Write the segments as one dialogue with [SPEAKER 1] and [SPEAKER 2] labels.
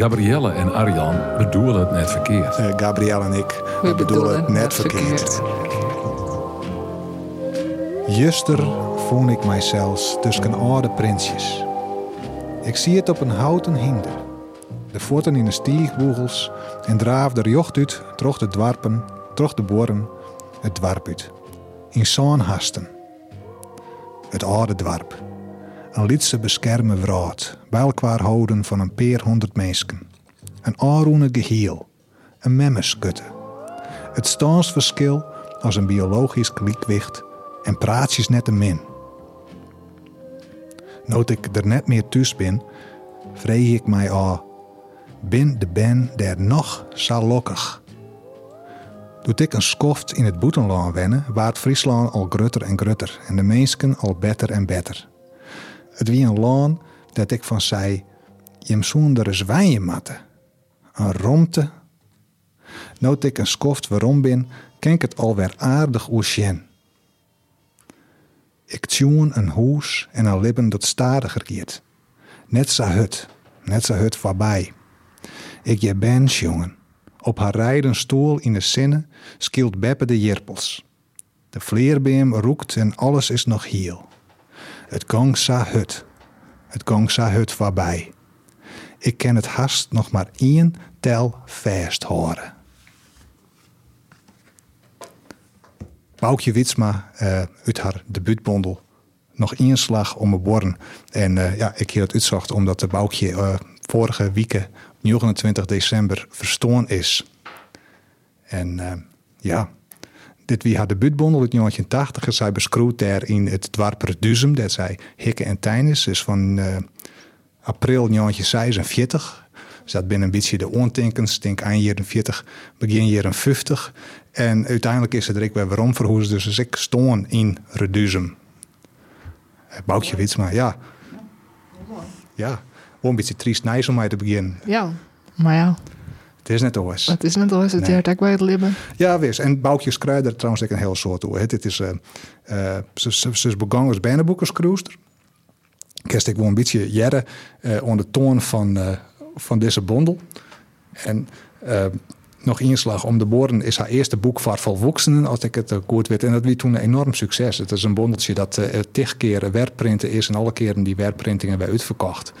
[SPEAKER 1] Gabrielle en Arjan bedoelen het net verkeerd.
[SPEAKER 2] Eh, Gabrielle en ik we bedoelen, het net verkeerd. Juster voel ik mijzelf tussen oude prinsjes. Ik zie het op een houten hinder. De voeten in de stiegboegels en draaf de jocht uit, troch de dwarpen, troch de boren, het dwarp uit. In zo'n hasten. Het oude dwarp. Een lietse bescherme wraad, bij elkaar houden van een paar honderd mensen. Een aanroene geheel, een memmeskutte. Het staansverschil als een biologisch kliekwicht en praatjes net te min. Noot ik er net meer thuis ben, vreeg ik mij al, bin de ben der nog zo lokkig? Doet ik een skoft in het boetenlaan wennen, waard Friesland al grutter en grutter en de mensen al beter en beter. Het wie een laan dat ik van zei, je zonder eens wijnen matte. Een romte. Noot ik een skoft waarom bin, ken ik het alweer aardig oesjen. Ik tjoen een hoes en een lippen dat stadiger giet. Net sa hut, net sa hut voorbij. Ik je bens, jongen. Op haar rijden stoel in de zinnen skielt Beppe de jerpels. De vleerbeem roekt en alles is nog heel. Het gong sa hut. Het gong sa hut voorbij. Ik ken het hast nog maar één tel vast horen. Boukje Witsma eh, uit haar debuutbondel. Nog één slag om mijn born. En eh, ja, ik heb het uitzocht omdat de Boukje eh, vorige week, 29 december, verstoorn is. En eh, ja, dit wie haar debuutbondel uit 1980. en Zij beschroet daar in het Dwarper Duzum. Dat zij Hikke en Tijnis. Dus van eh, april 1946. Dus dat ben een beetje de ontinkens. Ik Denk eind jaren 40, begin jaren 50. En uiteindelijk is het er ik weer waarom verhoest. Dus als ik stoon in Reduzum. Eh, Boukje Witsma, ja. Ja, wel een beetje triest nijs om mij te beginnen.
[SPEAKER 3] Ja, maar ja,
[SPEAKER 2] Het is net oors.
[SPEAKER 3] dat is net al eens het
[SPEAKER 2] Nee.
[SPEAKER 3] jaar dat ik bij het libben.
[SPEAKER 2] Ja, wees. En Boukje Skruider trouwens ook een heel soort hoor. Het is, eh eh, ze, ze, ze is begonnen als bijnaboekerskruister. Kerst ik wel een beetje jaren eh onder de toon van, eh, van deze bondel. En eh, nog inslag om de boren is haar eerste boek van volwassenen, als ik het eh, goed weet. En dat wie toen een enorm succes. Het is een bondeltje dat eh tig keer werkprinten is en alle keren die werkprintingen wij uitverkocht.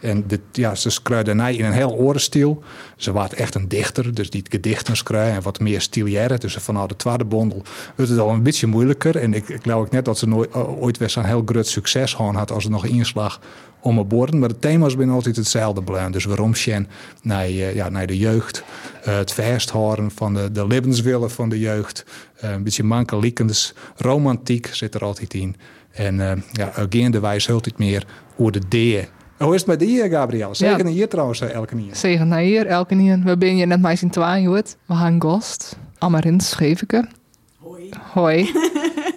[SPEAKER 2] En dit, ja, ze skruidenij in een heel orenstil. Ze was echt een dichter, dus die gedichten skruien en wat meer stiliaire. Dus van nou, de tweede bondel werd het al een beetje moeilijker. En ik, ik geloof ook net dat ze nooit, o- ooit weer zo'n heel groot succes gewoon had als er nog inslag om het borden. Maar de thema's zijn altijd hetzelfde blijven. Dus waarom Sjen naar, eh, ja, naar de jeugd, eh, het vasthouden van de, de levenswillen van de jeugd, eh, een beetje mankelijkens, romantiek zit er altijd in. En eh ja, gaandewijs hult het meer over de deer. Hoe is het met de hier, Gabriel? Zeker
[SPEAKER 3] Ja.
[SPEAKER 2] een hier trouwens, eh, elke hier.
[SPEAKER 3] Zegen naar nou hier, elke nien. We ben je net mij zien twaaien, hoort. We gaan gast. Amarin Scheveke.
[SPEAKER 4] Hoi.
[SPEAKER 3] Hoi.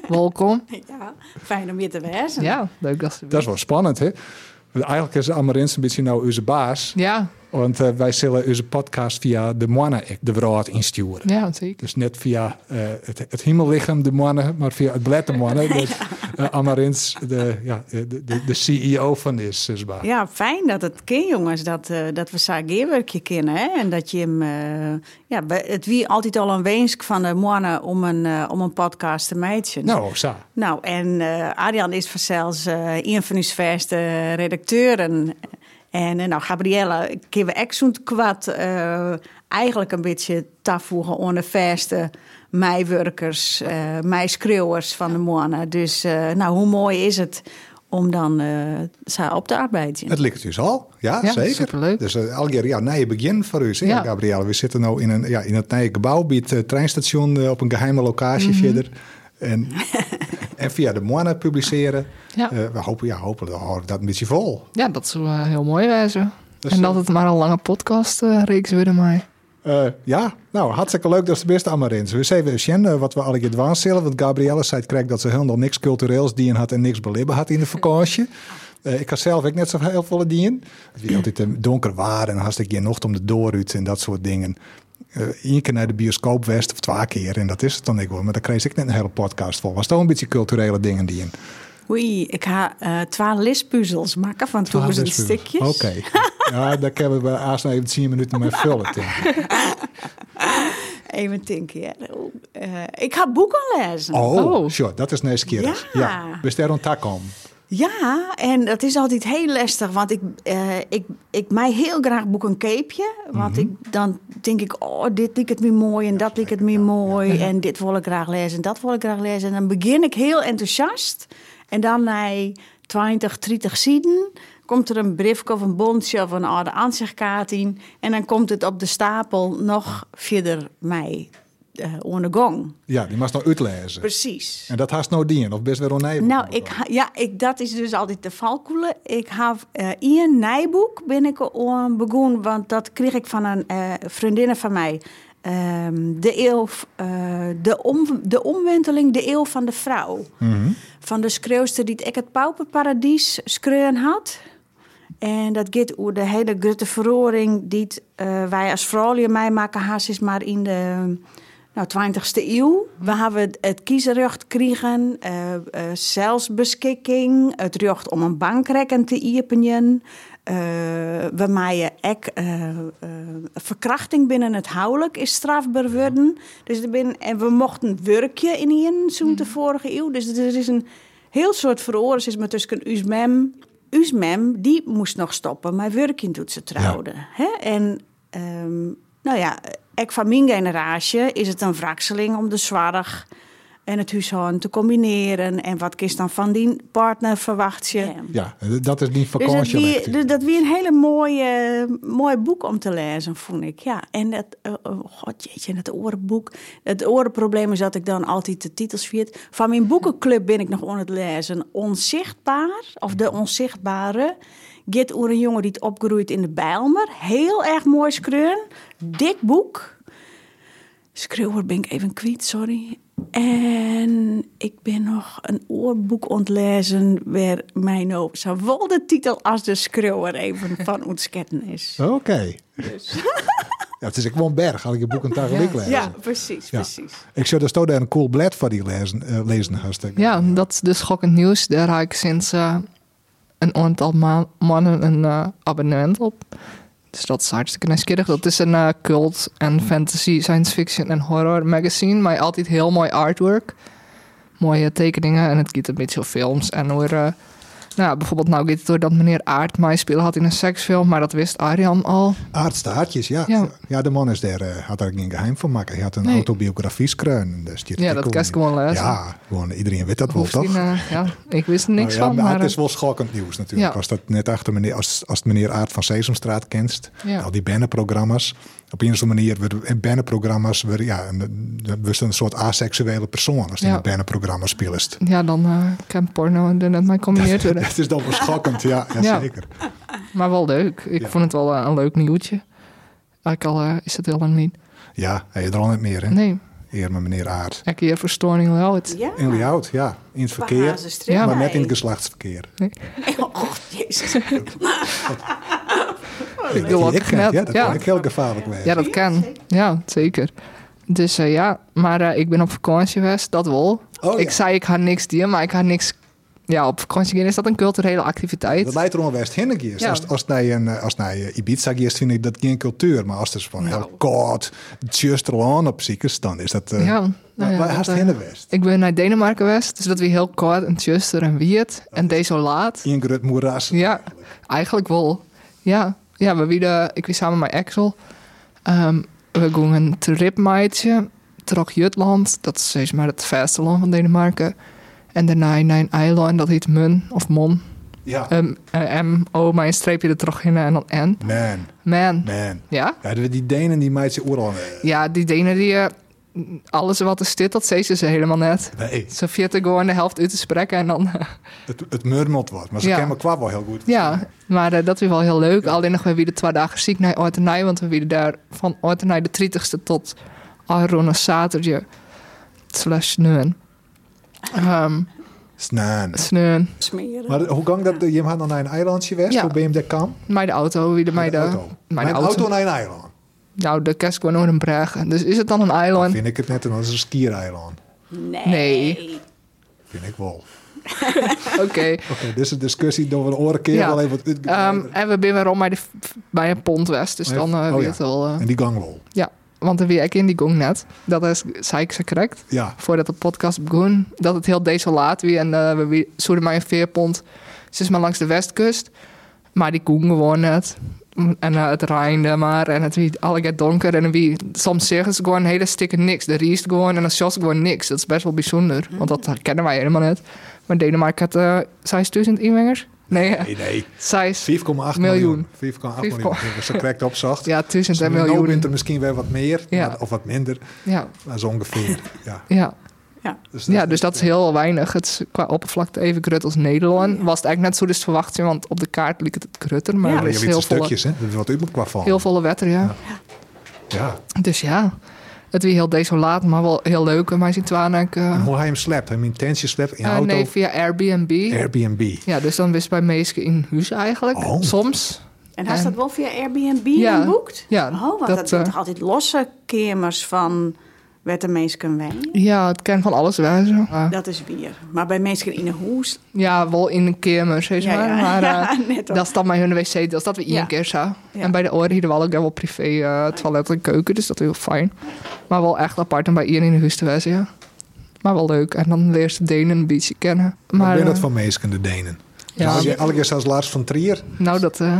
[SPEAKER 3] Welkom.
[SPEAKER 4] Ja, fijn om hier te wezen.
[SPEAKER 3] Ja, leuk dat ze
[SPEAKER 2] Dat is wel spannend, hè? Want Eigenlijk is Amarins een beetje nou onze baas.
[SPEAKER 3] Ja,
[SPEAKER 2] Want eh, wij zullen onze podcast via de Moana Act, de Wraad, insturen.
[SPEAKER 3] ja, zeker.
[SPEAKER 2] Dus net via eh, het, het hemellichaam, de mannen, maar via het blad, de mannen. Dus eh, Amarins, de, ja, de, de, de CEO van eh, is, is waar.
[SPEAKER 4] Ja, fijn dat het kan, jongens, dat, eh, dat we zijn geerwerkje kennen. Hè? En dat je hem. eh, ja, we- het wie altijd al een wensk van de mannen om een, eh, om een podcast te meiden.
[SPEAKER 2] Nou, Sa.
[SPEAKER 4] Nou, en eh Arjan is vanzelfs eh een van uw verste redacteuren. En eh, nou, Gabrielle, kunnen we echt zo'n kwad eh, eigenlijk een beetje tafoegen aan de verste meiwerkers, eh meischreeuwers van de mannen. Dus eh, nou, hoe mooi is het om dan uh, op te arbeiden?
[SPEAKER 2] Het ligt dus al, ja,
[SPEAKER 3] Ja,
[SPEAKER 2] zeker.
[SPEAKER 3] superleuk.
[SPEAKER 2] Dus uh, Alger, ja, nieuw begin voor u, hè,
[SPEAKER 3] Ja.
[SPEAKER 2] Gabrielle? We zitten nu in, een, ja, in het nieuwe gebouw bij het eh, treinstation eh, op een geheime locatie
[SPEAKER 3] Mhm.
[SPEAKER 2] verder. En, en via de Moana publiceren.
[SPEAKER 3] Ja.
[SPEAKER 2] Eh, we hopen, ja, hopen dat, houden we dat een beetje vol.
[SPEAKER 3] Ja, dat zou eh, heel mooi wijzen.
[SPEAKER 2] Dus,
[SPEAKER 3] en dat
[SPEAKER 2] eh,
[SPEAKER 3] het maar een lange podcast eh, reeks worden, maar...
[SPEAKER 2] Eh, ja, nou, hartstikke leuk dat ze best allemaal in. We zeiden weer Sjen, eh, wat we alle keer dwaan zullen. Want Gabrielle zei het krijgt dat ze helemaal niks cultureels dien had en niks belibben had in de vakantie. Eh, ik had zelf ook net zo heel veel dien. Het was altijd eh, donker waar en hartstikke je nog om de dooruit en dat soort dingen. Eén keer naar de bioscoop west of twee keer en dat is het dan ik wel. Maar daar kreeg ik net een hele podcast vol. Was toch een beetje culturele dingen dien.
[SPEAKER 4] Oei, ik ha eh twaalf listpuzzels maken van 1000 stukjes.
[SPEAKER 2] Oké. ja, daar kunnen we haast nog even 10 minuten mee vullen. denk ik.
[SPEAKER 4] Even denken, ja. Oeh, eh, ik ga boeken lezen.
[SPEAKER 2] Oh,
[SPEAKER 3] Oh.
[SPEAKER 2] sure, dat is next keer. eens.
[SPEAKER 4] Ja.
[SPEAKER 2] ja. We staan tak om.
[SPEAKER 4] Ja, en dat is altijd heel lastig, want ik, eh, ik, ik mij heel graag boek een capeje. Want ik, dan denk ik, oh, dit liep het me mooi en dat liep het me mooi. En dit wil ik graag lezen en dat wil ik graag lezen. En dan begin ik heel enthousiast. En dan na 20, 30 zieden komt er een briefje of een bondje of een oude aanzichtkaart in. En dan komt het op de stapel nog verder mij eh onder gong.
[SPEAKER 2] Ja, die mag nog uitlezen.
[SPEAKER 4] Precies.
[SPEAKER 2] En dat haast nou dien, of best wel onneven.
[SPEAKER 4] Nou, ik, ha- ja, ik, dat is dus altijd de valkoele. Ik heb eh Ian Nijboek ben ik aan begonnen, want dat kreeg ik van een eh vriendin van mij. Ehm, de eeuw, v- eh, de, om, de omwenteling, de eeuw van de vrouw. Van de schreeuwster die ik het pauperparadies schreeuwen had. En dat gaat over de hele grote verroring die het, eh, wij als vrouwen meemaken, haast is maar in de nou, 20e eeuw. We hebben het kiesrecht gekregen, eh, eh, zelfsbeschikking, het recht om een bankrekken te iepenen. Eh, we maaien ook eh, eh, verkrachting binnen het huwelijk is strafbaar worden. Dus er bin, en we mochten werkje in hier, zo'n de vorige eeuw. Dus er is een heel soort veroorzaak tussen ons mem Us mem, die moest nog stoppen, maar Wurkin doet ze trouwde. Hè? En ehm, nou ja, ek van mijn generatie is het een wrakseling om de zorg en het huishouden te combineren. En wat kist dan van die partner verwacht je?
[SPEAKER 2] Ja, dat is die
[SPEAKER 4] Dus dat
[SPEAKER 2] vakantie.
[SPEAKER 4] weer, dus dat weer een hele mooie, mooi boek om te lezen, vond ik. Ja, en dat, eh, oh, god jeetje, het orenboek. Het orenprobleem is dat ik dan altijd de titels viert. Van mijn boekenclub ben ik nog aan het lezen. Onzichtbaar, of De Onzichtbare. Git oer een jongen die het opgroeit in de Bijlmer. Heel erg mooi schreun. Dik boek. Schreeuwer ben ik even kwijt, sorry. En ik ben nog een oorboek ontlezen waar mij nou zowel de titel als de schreeuwer even van ontsketten is.
[SPEAKER 2] Oké. ja, het is gewoon een berg, had ik je boek een dag gelijk lezen.
[SPEAKER 4] Dus. Ja, precies,
[SPEAKER 2] Ja.
[SPEAKER 4] precies.
[SPEAKER 2] Ik zou dus toch daar een cool blad voor die lezen, eh, lezen hartstikke.
[SPEAKER 3] Ja, dat is dus schokkend nieuws. Daar haak ik sinds eh, een aantal ma- maanden een eh, abonnement op. Dus dat is hartstikke nieuwsgierig. Dat is een eh, cult en fantasy, science fiction en horror magazine. Maar altijd heel mooi artwork. Mooie tekeningen. En het gaat een beetje over films. En over... eh, nou, ja, bijvoorbeeld nou gaat het door dat meneer Aard mij spelen had in een seksfilm. Maar dat wist Arjan al.
[SPEAKER 2] Aardste hartjes, ja. ja.
[SPEAKER 3] Ja.
[SPEAKER 2] de man is daar, eh, had daar geen geheim van maken. Hij had een
[SPEAKER 3] Nee.
[SPEAKER 2] autobiografie schreun. Dus die
[SPEAKER 3] Ja, dat
[SPEAKER 2] artikel-
[SPEAKER 3] kan ik gewoon lezen.
[SPEAKER 2] Ja, gewoon iedereen weet dat wel,
[SPEAKER 3] Hoeft
[SPEAKER 2] toch?
[SPEAKER 3] die, eh, ja, ik wist er niks
[SPEAKER 2] Nou ja,
[SPEAKER 3] van.
[SPEAKER 2] maar
[SPEAKER 3] Maar,
[SPEAKER 2] het is
[SPEAKER 3] eh,
[SPEAKER 2] wel schokkend nieuws natuurlijk.
[SPEAKER 3] Ja.
[SPEAKER 2] Als dat net achter meneer, als, als het meneer Aard van Sesamstraat kent,
[SPEAKER 3] Ja.
[SPEAKER 2] al die bannerprogramma's. Op een of andere manier, werden- in bannerprogramma's, werden- ja, een- dat was een soort aseksuele persoon als die
[SPEAKER 3] Ja.
[SPEAKER 2] in bannerprogramma's speelst.
[SPEAKER 3] ja, dan eh, kan porno er net mee combineerd worden.
[SPEAKER 2] Het is dan wel schokkend, ja, ja,
[SPEAKER 3] Ja.
[SPEAKER 2] zeker.
[SPEAKER 3] Maar wel leuk. Ik
[SPEAKER 2] Ja.
[SPEAKER 3] vond het wel eh, een leuk nieuwtje. Eigenlijk al eh, is het heel lang niet.
[SPEAKER 2] Ja, hij is er al niet meer, hè?
[SPEAKER 3] Nee,
[SPEAKER 2] Eer maar meneer Aard.
[SPEAKER 3] elke keer verstoring wel. Het.
[SPEAKER 4] Ja,
[SPEAKER 2] In Lihout, ja. In het verkeer,
[SPEAKER 3] Ja.
[SPEAKER 2] maar net in het geslachtsverkeer.
[SPEAKER 4] Oh, jezus.
[SPEAKER 2] Ik
[SPEAKER 3] wil wat
[SPEAKER 2] ken,
[SPEAKER 3] gekneld,
[SPEAKER 2] ja, dat
[SPEAKER 3] ja.
[SPEAKER 2] kan ik heel gevaarlijk wezen.
[SPEAKER 3] Ja, dat kan. Ja, zeker. Dus eh, ja, maar eh, ik ben op vakantie geweest, dat wel.
[SPEAKER 2] Oh, ja.
[SPEAKER 3] Ik zei ik ga niks dieren, maar ik ga niks... Ja, op vakantie gaan is dat een culturele activiteit.
[SPEAKER 2] Dat leidt erom West Hinnik is.
[SPEAKER 3] Ja.
[SPEAKER 2] Als, als het naar een eh, als het naar je Ibiza is, vind ik dat geen cultuur. Maar als het is van
[SPEAKER 3] Nou.
[SPEAKER 2] "Oh heel kort, tjusterlaan op ziekes, dan is dat. eh
[SPEAKER 3] Ja, nou
[SPEAKER 2] maar
[SPEAKER 3] ja,
[SPEAKER 2] maar
[SPEAKER 3] dat,
[SPEAKER 2] haast
[SPEAKER 3] eh,
[SPEAKER 2] Hinnik West.
[SPEAKER 3] Ik ben naar Denemarken geweest, dus dat weer heel kort en tjuster en weird en
[SPEAKER 2] Oh,
[SPEAKER 3] desolaat.
[SPEAKER 2] In Grut Moeras.
[SPEAKER 3] Ja, eigenlijk wel. Ja, ja we wieden, ik was samen met Axel. Ehm, we gingen een tripmaatje, trok Jutland, dat is steeds maar het verste land van Denemarken. En daarna naar een eiland, dat heet Mun of Mon.
[SPEAKER 2] Ja.
[SPEAKER 3] Um, eh, M, O, maar een streepje er trog in en dan N.
[SPEAKER 2] Man,
[SPEAKER 3] Man.
[SPEAKER 2] man.
[SPEAKER 3] Ja?
[SPEAKER 2] Ja, die- die Denen die meid ze oeral. eh,
[SPEAKER 3] Ja, die Denen die... eh, alles wat er zit, dat zeiden ze helemaal net.
[SPEAKER 2] Nee,
[SPEAKER 3] Ze vierten gewoon de helft uit te spreken en dan... eh,
[SPEAKER 2] het, het murmelt wat. Maar ze
[SPEAKER 3] Ja.
[SPEAKER 2] kennen elkaar wel heel goed.
[SPEAKER 3] Ja, maar eh, dat is wel heel leuk. Alleen nog, we weer twee dagen ziek naar Ortenij. Want we weer daar van Ortenij de 30ste tot Arona zaterdag. Slash neun. Ehm
[SPEAKER 2] Snaan.
[SPEAKER 3] sneun.
[SPEAKER 4] Smeren.
[SPEAKER 2] Maar hoe gang dat? eh, Je gaat dan naar een eilandje West?
[SPEAKER 3] Ja.
[SPEAKER 2] Hoe ben je hem daar kam?
[SPEAKER 3] Mijn de auto, wie de mijn de
[SPEAKER 2] auto.
[SPEAKER 3] Mijn
[SPEAKER 2] Mijn
[SPEAKER 3] auto.
[SPEAKER 2] auto naar een eiland.
[SPEAKER 3] Nou, de kerst gewoon nog een braag. Dus is het dan een eiland?
[SPEAKER 2] Vind ik het net, en dat is een skiereiland.
[SPEAKER 4] Nee.
[SPEAKER 3] Nee.
[SPEAKER 2] Vind ik wel.
[SPEAKER 3] Oké. Ehm,
[SPEAKER 2] Oké, dit is een discussie door een oren keer
[SPEAKER 3] Ja.
[SPEAKER 2] wel even. wat-
[SPEAKER 3] Ehm, en we zijn waarom bij, de, bij een pond west. Dus
[SPEAKER 2] Maar
[SPEAKER 3] dan
[SPEAKER 2] even-
[SPEAKER 3] eh,
[SPEAKER 2] oh
[SPEAKER 3] weet
[SPEAKER 2] ja.
[SPEAKER 3] het wel. eh.
[SPEAKER 2] en die gangwol.
[SPEAKER 3] ja, want dan wie ik in die gong net. Dat is, zei ik ze correct.
[SPEAKER 2] Ja,
[SPEAKER 3] Voordat de podcast begon, dat het heel desolaat wie En eh, we wie- zouden maar een veerpont. Ze is maar langs de westkust. Maar die koen gewoon net. En eh, het regende maar. En het wie alle donker. En wie soms zeggen ze gewoon hele stikken niks. De riest gewoon en de sjos gewoon niks. Dat is best wel bijzonder. Want dat kennen wij helemaal niet. Maar Denemarken had eh 6000 inwoners. Nee,
[SPEAKER 2] nee, nee.
[SPEAKER 3] 6.
[SPEAKER 2] 4,8 miljoen.
[SPEAKER 3] Miljoen.
[SPEAKER 2] 4,8
[SPEAKER 3] Vijf
[SPEAKER 2] miljoen.
[SPEAKER 3] kom-
[SPEAKER 2] Dat is correct opzacht.
[SPEAKER 3] Ja,
[SPEAKER 2] Dus
[SPEAKER 3] duizend en
[SPEAKER 2] Nu
[SPEAKER 3] miljoenen.
[SPEAKER 2] bent er misschien weer wat meer,
[SPEAKER 3] Ja.
[SPEAKER 2] maar- of wat minder.
[SPEAKER 3] Ja,
[SPEAKER 2] Maar zo ongeveer. Ja,
[SPEAKER 3] ja.
[SPEAKER 2] dus
[SPEAKER 3] ja, dus dat is heel weinig. Het is qua oppervlakte even grut als Nederland. Was het eigenlijk net zo dus verwacht, zijn, want op de kaart liep het grutter. Maar
[SPEAKER 4] Ja.
[SPEAKER 2] Ja,
[SPEAKER 3] er
[SPEAKER 2] maar je
[SPEAKER 3] is
[SPEAKER 2] weet de
[SPEAKER 3] heel volle,
[SPEAKER 2] stukjes, hè? Dat is wat u moet qua vallen.
[SPEAKER 3] heel volle wetter, ja.
[SPEAKER 2] Ja.
[SPEAKER 3] Dus ja, het was heel desolaat, maar wel heel leuk. En wij zien Twanak eh,
[SPEAKER 2] En hoe hij hem slept, hem intentie slept in
[SPEAKER 3] eh,
[SPEAKER 2] auto,
[SPEAKER 3] nee, via Airbnb.
[SPEAKER 2] Airbnb.
[SPEAKER 3] ja, dus dan wist bij Meeske in huis eigenlijk,
[SPEAKER 2] Oh.
[SPEAKER 3] soms.
[SPEAKER 4] En had je dat
[SPEAKER 3] En-
[SPEAKER 4] wel via Airbnb
[SPEAKER 3] Ja,
[SPEAKER 4] geboekt?
[SPEAKER 3] ja,
[SPEAKER 4] Oh, want dat,
[SPEAKER 3] dat,
[SPEAKER 4] zijn
[SPEAKER 3] eh,
[SPEAKER 4] toch altijd losse kamers van werd de meesten wijn?
[SPEAKER 3] Ja, het kan van alles wijzen. Eh,
[SPEAKER 4] Dat is bier. Maar bij meesten in een hoes...
[SPEAKER 3] ja, wel in een kamer, zeg maar. maar eh,
[SPEAKER 4] ja, net op.
[SPEAKER 3] Dat is dan mijn hun wc, dat is dat we één
[SPEAKER 4] Ja.
[SPEAKER 3] keer zo.
[SPEAKER 4] Ja.
[SPEAKER 3] En bij de oren hadden we ook wel privé eh, toilet en keuken, dus dat is heel fijn. Maar wel echt apart om bij iedereen in de huis te wezen, ja. Maar wel leuk. En dan leer je Denen een beetje kennen.
[SPEAKER 2] Maar ben je dat
[SPEAKER 3] eh,
[SPEAKER 2] van Meesken de Denen? Dus
[SPEAKER 3] Ja.
[SPEAKER 2] Ja. Alle keer zelfs Lars van Trier.
[SPEAKER 3] Nou, dat, eh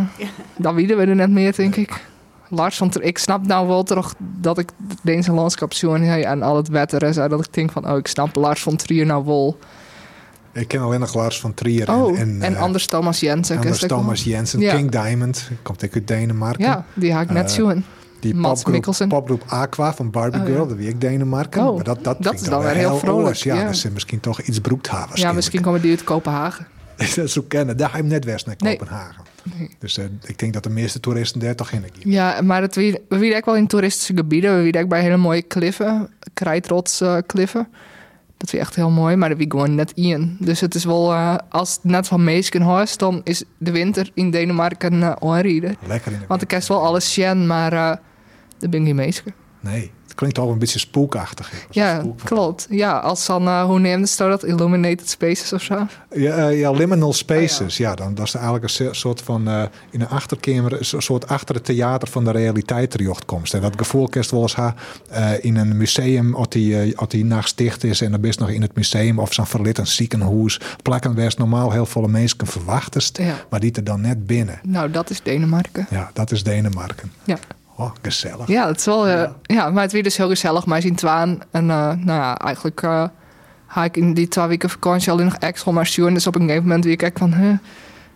[SPEAKER 3] dat weten we er net meer, denk ik. Lars, want ik snap nou wel toch dat ik het Deense landschap zo en, hey, en al het wetter en zo, dat ik denk van, oh, ik snap Lars van Trier nou wel.
[SPEAKER 2] Ik ken alleen nog Lars van Trier
[SPEAKER 3] oh,
[SPEAKER 2] en,
[SPEAKER 3] en,
[SPEAKER 2] en, eh,
[SPEAKER 3] Anders Thomas Jensen. ken
[SPEAKER 2] Anders
[SPEAKER 3] je dat wel?
[SPEAKER 2] Thomas Jensen,
[SPEAKER 3] Ja.
[SPEAKER 2] King Diamond. Komt ook uit Denemarken.
[SPEAKER 3] Ja, die haak ik net
[SPEAKER 2] Eh,
[SPEAKER 3] zien.
[SPEAKER 2] Die
[SPEAKER 3] Mads
[SPEAKER 2] popgroep,
[SPEAKER 3] Mikkelsen.
[SPEAKER 2] popgroep Aqua van Barbie
[SPEAKER 3] Oh, ja.
[SPEAKER 2] Girl, dat wie ik Denemarken.
[SPEAKER 3] Oh,
[SPEAKER 2] maar dat, dat,
[SPEAKER 3] dat
[SPEAKER 2] vind
[SPEAKER 3] is
[SPEAKER 2] ik
[SPEAKER 3] dan weer heel vrolijk,
[SPEAKER 2] anders. Ja,
[SPEAKER 3] ja.
[SPEAKER 2] dat is misschien toch iets broekthavers.
[SPEAKER 3] Ja, misschien komen die uit Kopenhagen.
[SPEAKER 2] dat zo kennen. Daar ga je hem net west naar
[SPEAKER 3] Nee.
[SPEAKER 2] Kopenhagen.
[SPEAKER 3] Nee.
[SPEAKER 2] Dus eh, ik denk dat de meeste toeristen daar toch in gaan.
[SPEAKER 3] Ja, maar het, wie- we wieden ook wel in toeristische gebieden. We wieden ook bij hele mooie kliffen, krijtrotskliffen. kliffen. dat vind ik echt heel mooi, maar dat wie gewoon net in. Dus het is wel, eh, als het net van Meesken huis, dan is de winter in Denemarken een onrieder.
[SPEAKER 2] Lekker in de
[SPEAKER 3] Want ik kerst wel alles zien, maar eh dat ben ik niet Meesken.
[SPEAKER 2] Nee, het klinkt al een beetje spookachtig.
[SPEAKER 3] Ja,
[SPEAKER 2] Spook-
[SPEAKER 3] klopt. Ja, als dan, eh, hoe neemt het zo dat? Illuminated Spaces of zo?
[SPEAKER 2] Ja, eh, ja,
[SPEAKER 3] Oh,
[SPEAKER 2] liminal spaces. ja. dan dat is eigenlijk een so- soort van eh, in een achterkamer, een so- soort achter het theater van de realiteit terugkomst. En dat gevoel kerst wel eens ha, eh, in een museum, als die, eh, als die nachts dicht is en dan best nog in het museum of zo'n verlit een ziekenhuis, plakken waar normaal heel veel mensen verwachtest,
[SPEAKER 3] Ja.
[SPEAKER 2] maar die er dan net binnen.
[SPEAKER 3] Nou, dat is Denemarken.
[SPEAKER 2] Ja, dat is Denemarken.
[SPEAKER 3] Ja.
[SPEAKER 2] Oh, gezellig.
[SPEAKER 3] Ja, het is wel. eh, ja. maar het weer dus heel gezellig. Mij zien twaan. En eh, nou ja, eigenlijk eh ga ik in die twee weken vakantie alleen nog extra maar zien. Dus op een gegeven moment weer kijk van, huh,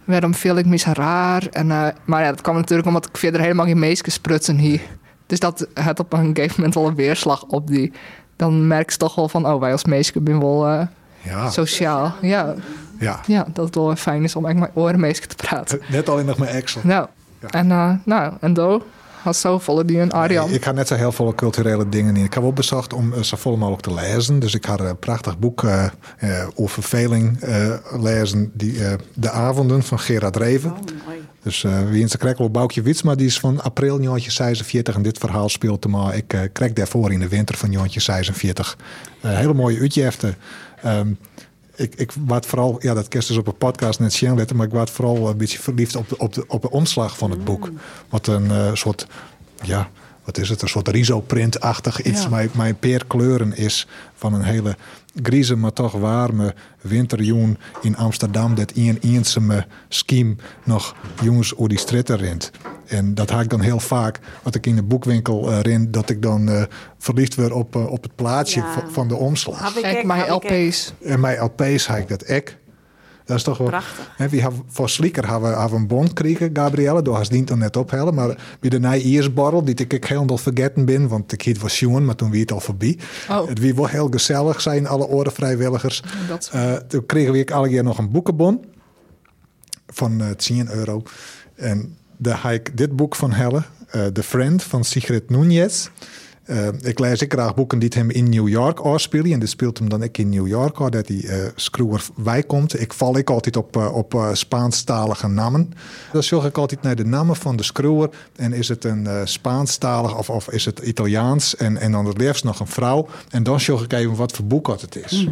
[SPEAKER 3] waarom viel ik me zo raar? En, eh, maar ja, dat kwam natuurlijk omdat ik verder helemaal geen meisjes sprutsen hier. Dus dat had op een gegeven moment al een weerslag op die. Dan merk je toch wel van, oh, wij als meisjes zijn wel eh,
[SPEAKER 2] Ja,
[SPEAKER 3] sociaal. Ja,
[SPEAKER 2] ja.
[SPEAKER 3] ja, dat het wel weer fijn is om echt met oren meisjes te praten.
[SPEAKER 2] Net alleen nog maar Excel.
[SPEAKER 3] Nou,
[SPEAKER 2] Ja.
[SPEAKER 3] en, eh, nou, en door had zo volle die een Arjan.
[SPEAKER 2] Ik ga net zo heel veel culturele dingen in. Ik heb ook bezocht om eh, zo vol mogelijk te lezen. Dus ik had een prachtig boek eh, eh, over verveling eh, lezen. Die, eh, de avonden van Gerard Reven.
[SPEAKER 4] Oh, mooi.
[SPEAKER 2] Dus eh wie in zijn krekkel op Boukje Wits, maar die is van april Jantje 46. En dit verhaal speelt te maar. Ik eh krek daarvoor in de winter van Jantje 46. Eh, hele mooie uitjeften. Ehm ik, ik waard vooral, ja, dat kerst dus op een podcast net zien letten, maar ik waard vooral een beetje verliefd op de, op de, op de omslag van het boek. Wat een eh, soort, ja, wat is het? Een soort risoprintachtig iets,
[SPEAKER 3] Ja.
[SPEAKER 2] mijn, mijn peerkleuren is van een hele grieze, maar toch warme winterjoen in Amsterdam. Dat een eensame scheme nog jongens over die stritten rent. En dat haak ik dan heel vaak, wat ik in de boekwinkel eh ren, dat ik dan eh, verliefd word op, eh, op het plaatje
[SPEAKER 4] Ja.
[SPEAKER 2] van, van de omslag.
[SPEAKER 4] Had ik
[SPEAKER 3] Kijk,
[SPEAKER 4] ook,
[SPEAKER 3] mijn
[SPEAKER 4] had ik ook.
[SPEAKER 3] LP's.
[SPEAKER 2] En mijn LP's had ik dat ek. Dat is toch wel...
[SPEAKER 4] Prachtig.
[SPEAKER 2] Hè, wie had- voor Slieker hebben we, hebben we een bond gekregen, Gabrielle. Daar had ze het net ophellen. Maar bij de nieuwe iersborrel, die ik helemaal vergeten ben. Want ik hiet was jongen, maar toen wie het al voorbij.
[SPEAKER 3] Oh.
[SPEAKER 2] Het wie wel heel gezellig zijn, alle oren vrijwilligers.
[SPEAKER 3] dat is-
[SPEAKER 2] Eh, toen kregen we ik alle keer nog een boekenbon. Van eh 10 euro. En daar had ik dit boek van Helle. eh, The Friend van Sigrid Núñez. Eh, ik lees ik graag boeken die het hem in New York afspelen. En dit speelt hem dan ik in New York af, dat die eh screwer wij komt. Ik val ik altijd op, eh, op eh, Spaanstalige namen. Dan zorg ik altijd naar de namen van de screwer. En is het een eh, Spaanstalig of, of is het Italiaans? En, en dan het liefst nog een vrouw. En dan zorg ik even wat voor boek dat het is.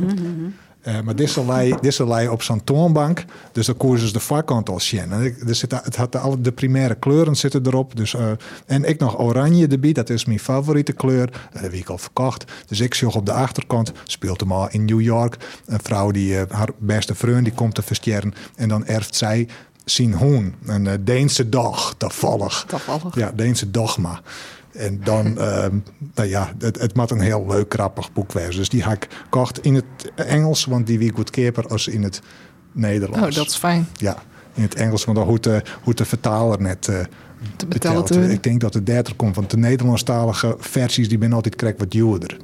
[SPEAKER 2] Eh, maar dit zal hij- dit zal hij op zo'n toonbank. Dus dan koersen ze de voorkant al zien. En ik, er zitten, het had alle, de primaire kleuren zitten erop. Dus, eh, en ik nog oranje erbij. Dat is mijn favoriete kleur. Dat heb ik al verkocht. Dus ik zocht op de achterkant. Speelt hem al in New York. Een vrouw die eh, haar beste vriend die komt te versterren. En dan erft zij zien hoen. Een eh, Deense dag, toevallig.
[SPEAKER 3] Toevallig.
[SPEAKER 2] Ja, Deense dogma. En dan, ehm, nou ja, het, het moet een heel leuk, grappig boek wezen. Dus die had ik gekocht in het Engels, want die wie goedkoper als in het Nederlands.
[SPEAKER 3] Oh, dat is fijn.
[SPEAKER 2] Ja, in het Engels, want dan hoort de, hoort de vertaler net eh
[SPEAKER 3] Te betalen.
[SPEAKER 2] betaald.
[SPEAKER 3] te winnen.
[SPEAKER 2] Ik denk dat de dertig komt, want de Nederlandstalige versies die ben altijd krek wat duurder.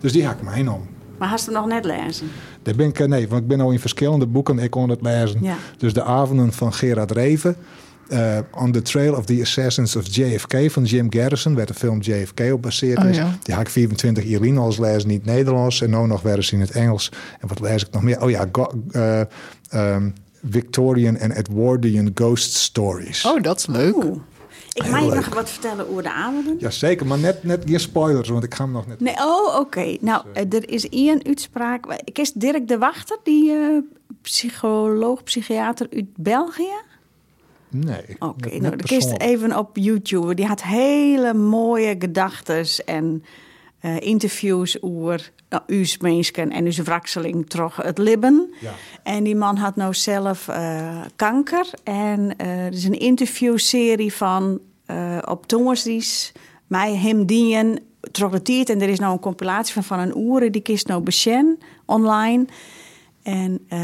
[SPEAKER 2] Dus die had ik mij om.
[SPEAKER 4] Maar had ze hem nog net lezen?
[SPEAKER 2] Daar ben ik, eh, nee, want ik ben al in verschillende boeken, ik kon het lezen.
[SPEAKER 4] Ja.
[SPEAKER 2] Dus de avonden van Gerard Reven. eh, On the Trail of the Assassins of JFK van Jim Garrison, waar de film JFK op gebaseerd
[SPEAKER 3] Oh,
[SPEAKER 2] is.
[SPEAKER 3] ja.
[SPEAKER 2] Die haak 24 Irene als lezen, niet Nederlands. En nou nog weer eens in het Engels. En wat lees ik nog meer? Oh ja, go- eh, ehm, Victorian and Edwardian Ghost Stories.
[SPEAKER 3] Oh, dat is leuk.
[SPEAKER 4] Oeh. Ik
[SPEAKER 2] Heel
[SPEAKER 4] mag je
[SPEAKER 2] leuk.
[SPEAKER 4] nog wat vertellen over de avonden.
[SPEAKER 2] Jazeker, maar net, net geen spoilers, want ik ga hem nog net...
[SPEAKER 4] Nee, oh, oké. Nou, eh, er is één uitspraak. Ik is Dirk de Wachter, die eh, psycholoog, psychiater uit België.
[SPEAKER 2] Nee.
[SPEAKER 4] Oké,
[SPEAKER 2] net- net
[SPEAKER 4] nou, de kist
[SPEAKER 2] persoonlijk.
[SPEAKER 4] even op YouTube. Die had hele mooie gedachtes en eh, interviews over nou, u's mensen en uw wrakseling toch het libben.
[SPEAKER 2] Ja.
[SPEAKER 4] En die man had nou zelf eh, kanker. En eh er is een interviewserie van eh, op Tongersdies, mij, hem, dien, troglodyte. En er is nou een compilatie van van een oeren, die kist nou beschen online. En eh,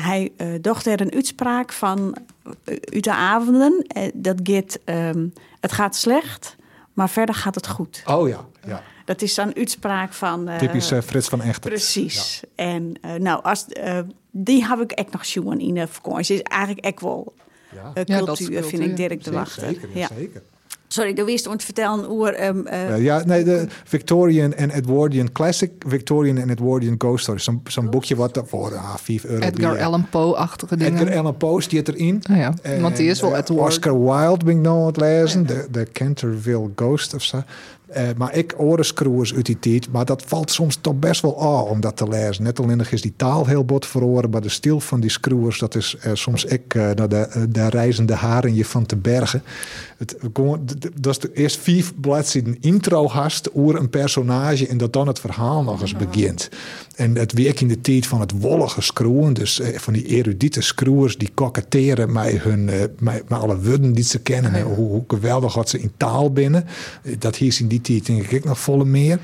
[SPEAKER 4] hij eh docht er een uitspraak van eh, uit de avonden. Eh, dat gaat, ehm, het gaat slecht, maar verder gaat het goed.
[SPEAKER 2] Oh ja, ja.
[SPEAKER 4] Dat is dan een uitspraak van... eh,
[SPEAKER 2] typisch eh, Frits van Echtert.
[SPEAKER 4] Precies. En eh, nou, als, eh, die heb ik echt nog zien in de vakantie. Is eigenlijk echt wel
[SPEAKER 2] Ja.
[SPEAKER 4] eh,
[SPEAKER 3] Ja, dat is
[SPEAKER 4] cultuur, vind
[SPEAKER 3] cultuur.
[SPEAKER 4] ik Dirk de
[SPEAKER 2] Ja,
[SPEAKER 4] Wachter.
[SPEAKER 2] Zeker, ja,
[SPEAKER 4] ja.
[SPEAKER 2] zeker.
[SPEAKER 4] Sorry, de wist om te vertellen over... ehm, eh,
[SPEAKER 2] Ja, ja, nee, de Victorian en Edwardian Classic Victorian en Edwardian Ghost Stories. Zo'n zo'n boekje wat er voor ah, 5 euro.
[SPEAKER 3] Edgar
[SPEAKER 2] bij-
[SPEAKER 3] Allan Poe-achtige dingen.
[SPEAKER 2] Edgar Allan Poe zit erin.
[SPEAKER 3] Oh ja, want die is wel
[SPEAKER 2] eh,
[SPEAKER 3] Edward. Oh
[SPEAKER 2] Oscar Wilde ben ik nou aan het lezen. De, de Canterville Ghost of zo. Eh, maar ik orenskroers uit die tijd. Maar dat valt soms toch best wel aan om dat te lezen. Net alleen nog is die taal heel bot verhoren. Maar de stil van die skroers, dat is eh, soms ik eh naar de, eh, de reizende haren je van te bergen. Het, gewoon, d- d- dat is de eerst vijf bladzijden intro hast over een personage. En dat dan het verhaal nog eens begint. En het werk in de tijd van het wollige schroeven, dus eh, van die erudite schroers die koketteren met, hun, eh, met, met alle woorden die ze kennen. hè, Hoe, hoe geweldig wat ze in taal binnen. Eh, Dat hier in die tijd denk ik nog volle meer.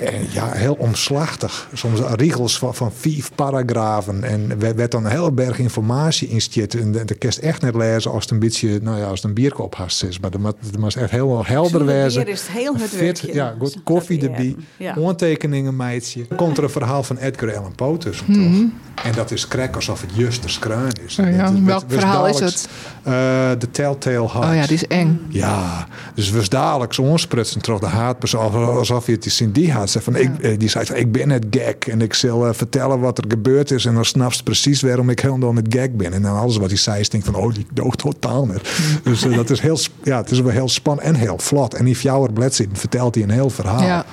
[SPEAKER 2] En Eh, ja, heel omslachtig. Soms regels van, van vier paragrafen. En er werd- werd dan een hele berg informatie in zitten. En de- de kerst echt net lezen als het een beetje, nou ja, als het een bierkop hast is. Maar dat moet- dat moet echt heel helder
[SPEAKER 4] Zonder bier
[SPEAKER 2] wezen.
[SPEAKER 4] is het heel het werkje.
[SPEAKER 2] Ja, goed koffie
[SPEAKER 4] Dat, ja.
[SPEAKER 2] erbij.
[SPEAKER 4] Ja.
[SPEAKER 2] Aantekeningen, meidje. Komt er een verhaal van Edgar Allan Poe tussen, toch? En dat is krek alsof het juist de skruin is.
[SPEAKER 3] Mhm. Oh ja,
[SPEAKER 2] Dat
[SPEAKER 3] welk
[SPEAKER 2] was
[SPEAKER 3] verhaal is
[SPEAKER 2] dadelijks, eh, de Telltale Heart.
[SPEAKER 3] Oh ja, die is eng.
[SPEAKER 2] Ja, dus we dadelijk ontsprutsen trof de haatpersoon alsof je het is in die haat. Zei Van, ik, eh, die zei van, ik ben het gek en ik zal eh, vertellen wat er gebeurd is en dan snapt ze precies waarom ik helemaal het gek ben. En dan alles wat hij zei is denk van, oh die doogt totaal net. Dus eh, dat is heel, sp- ja, het is wel heel spannend en heel vlot. En die fjouwer bladzijde vertelt hij een heel verhaal.
[SPEAKER 3] Ja.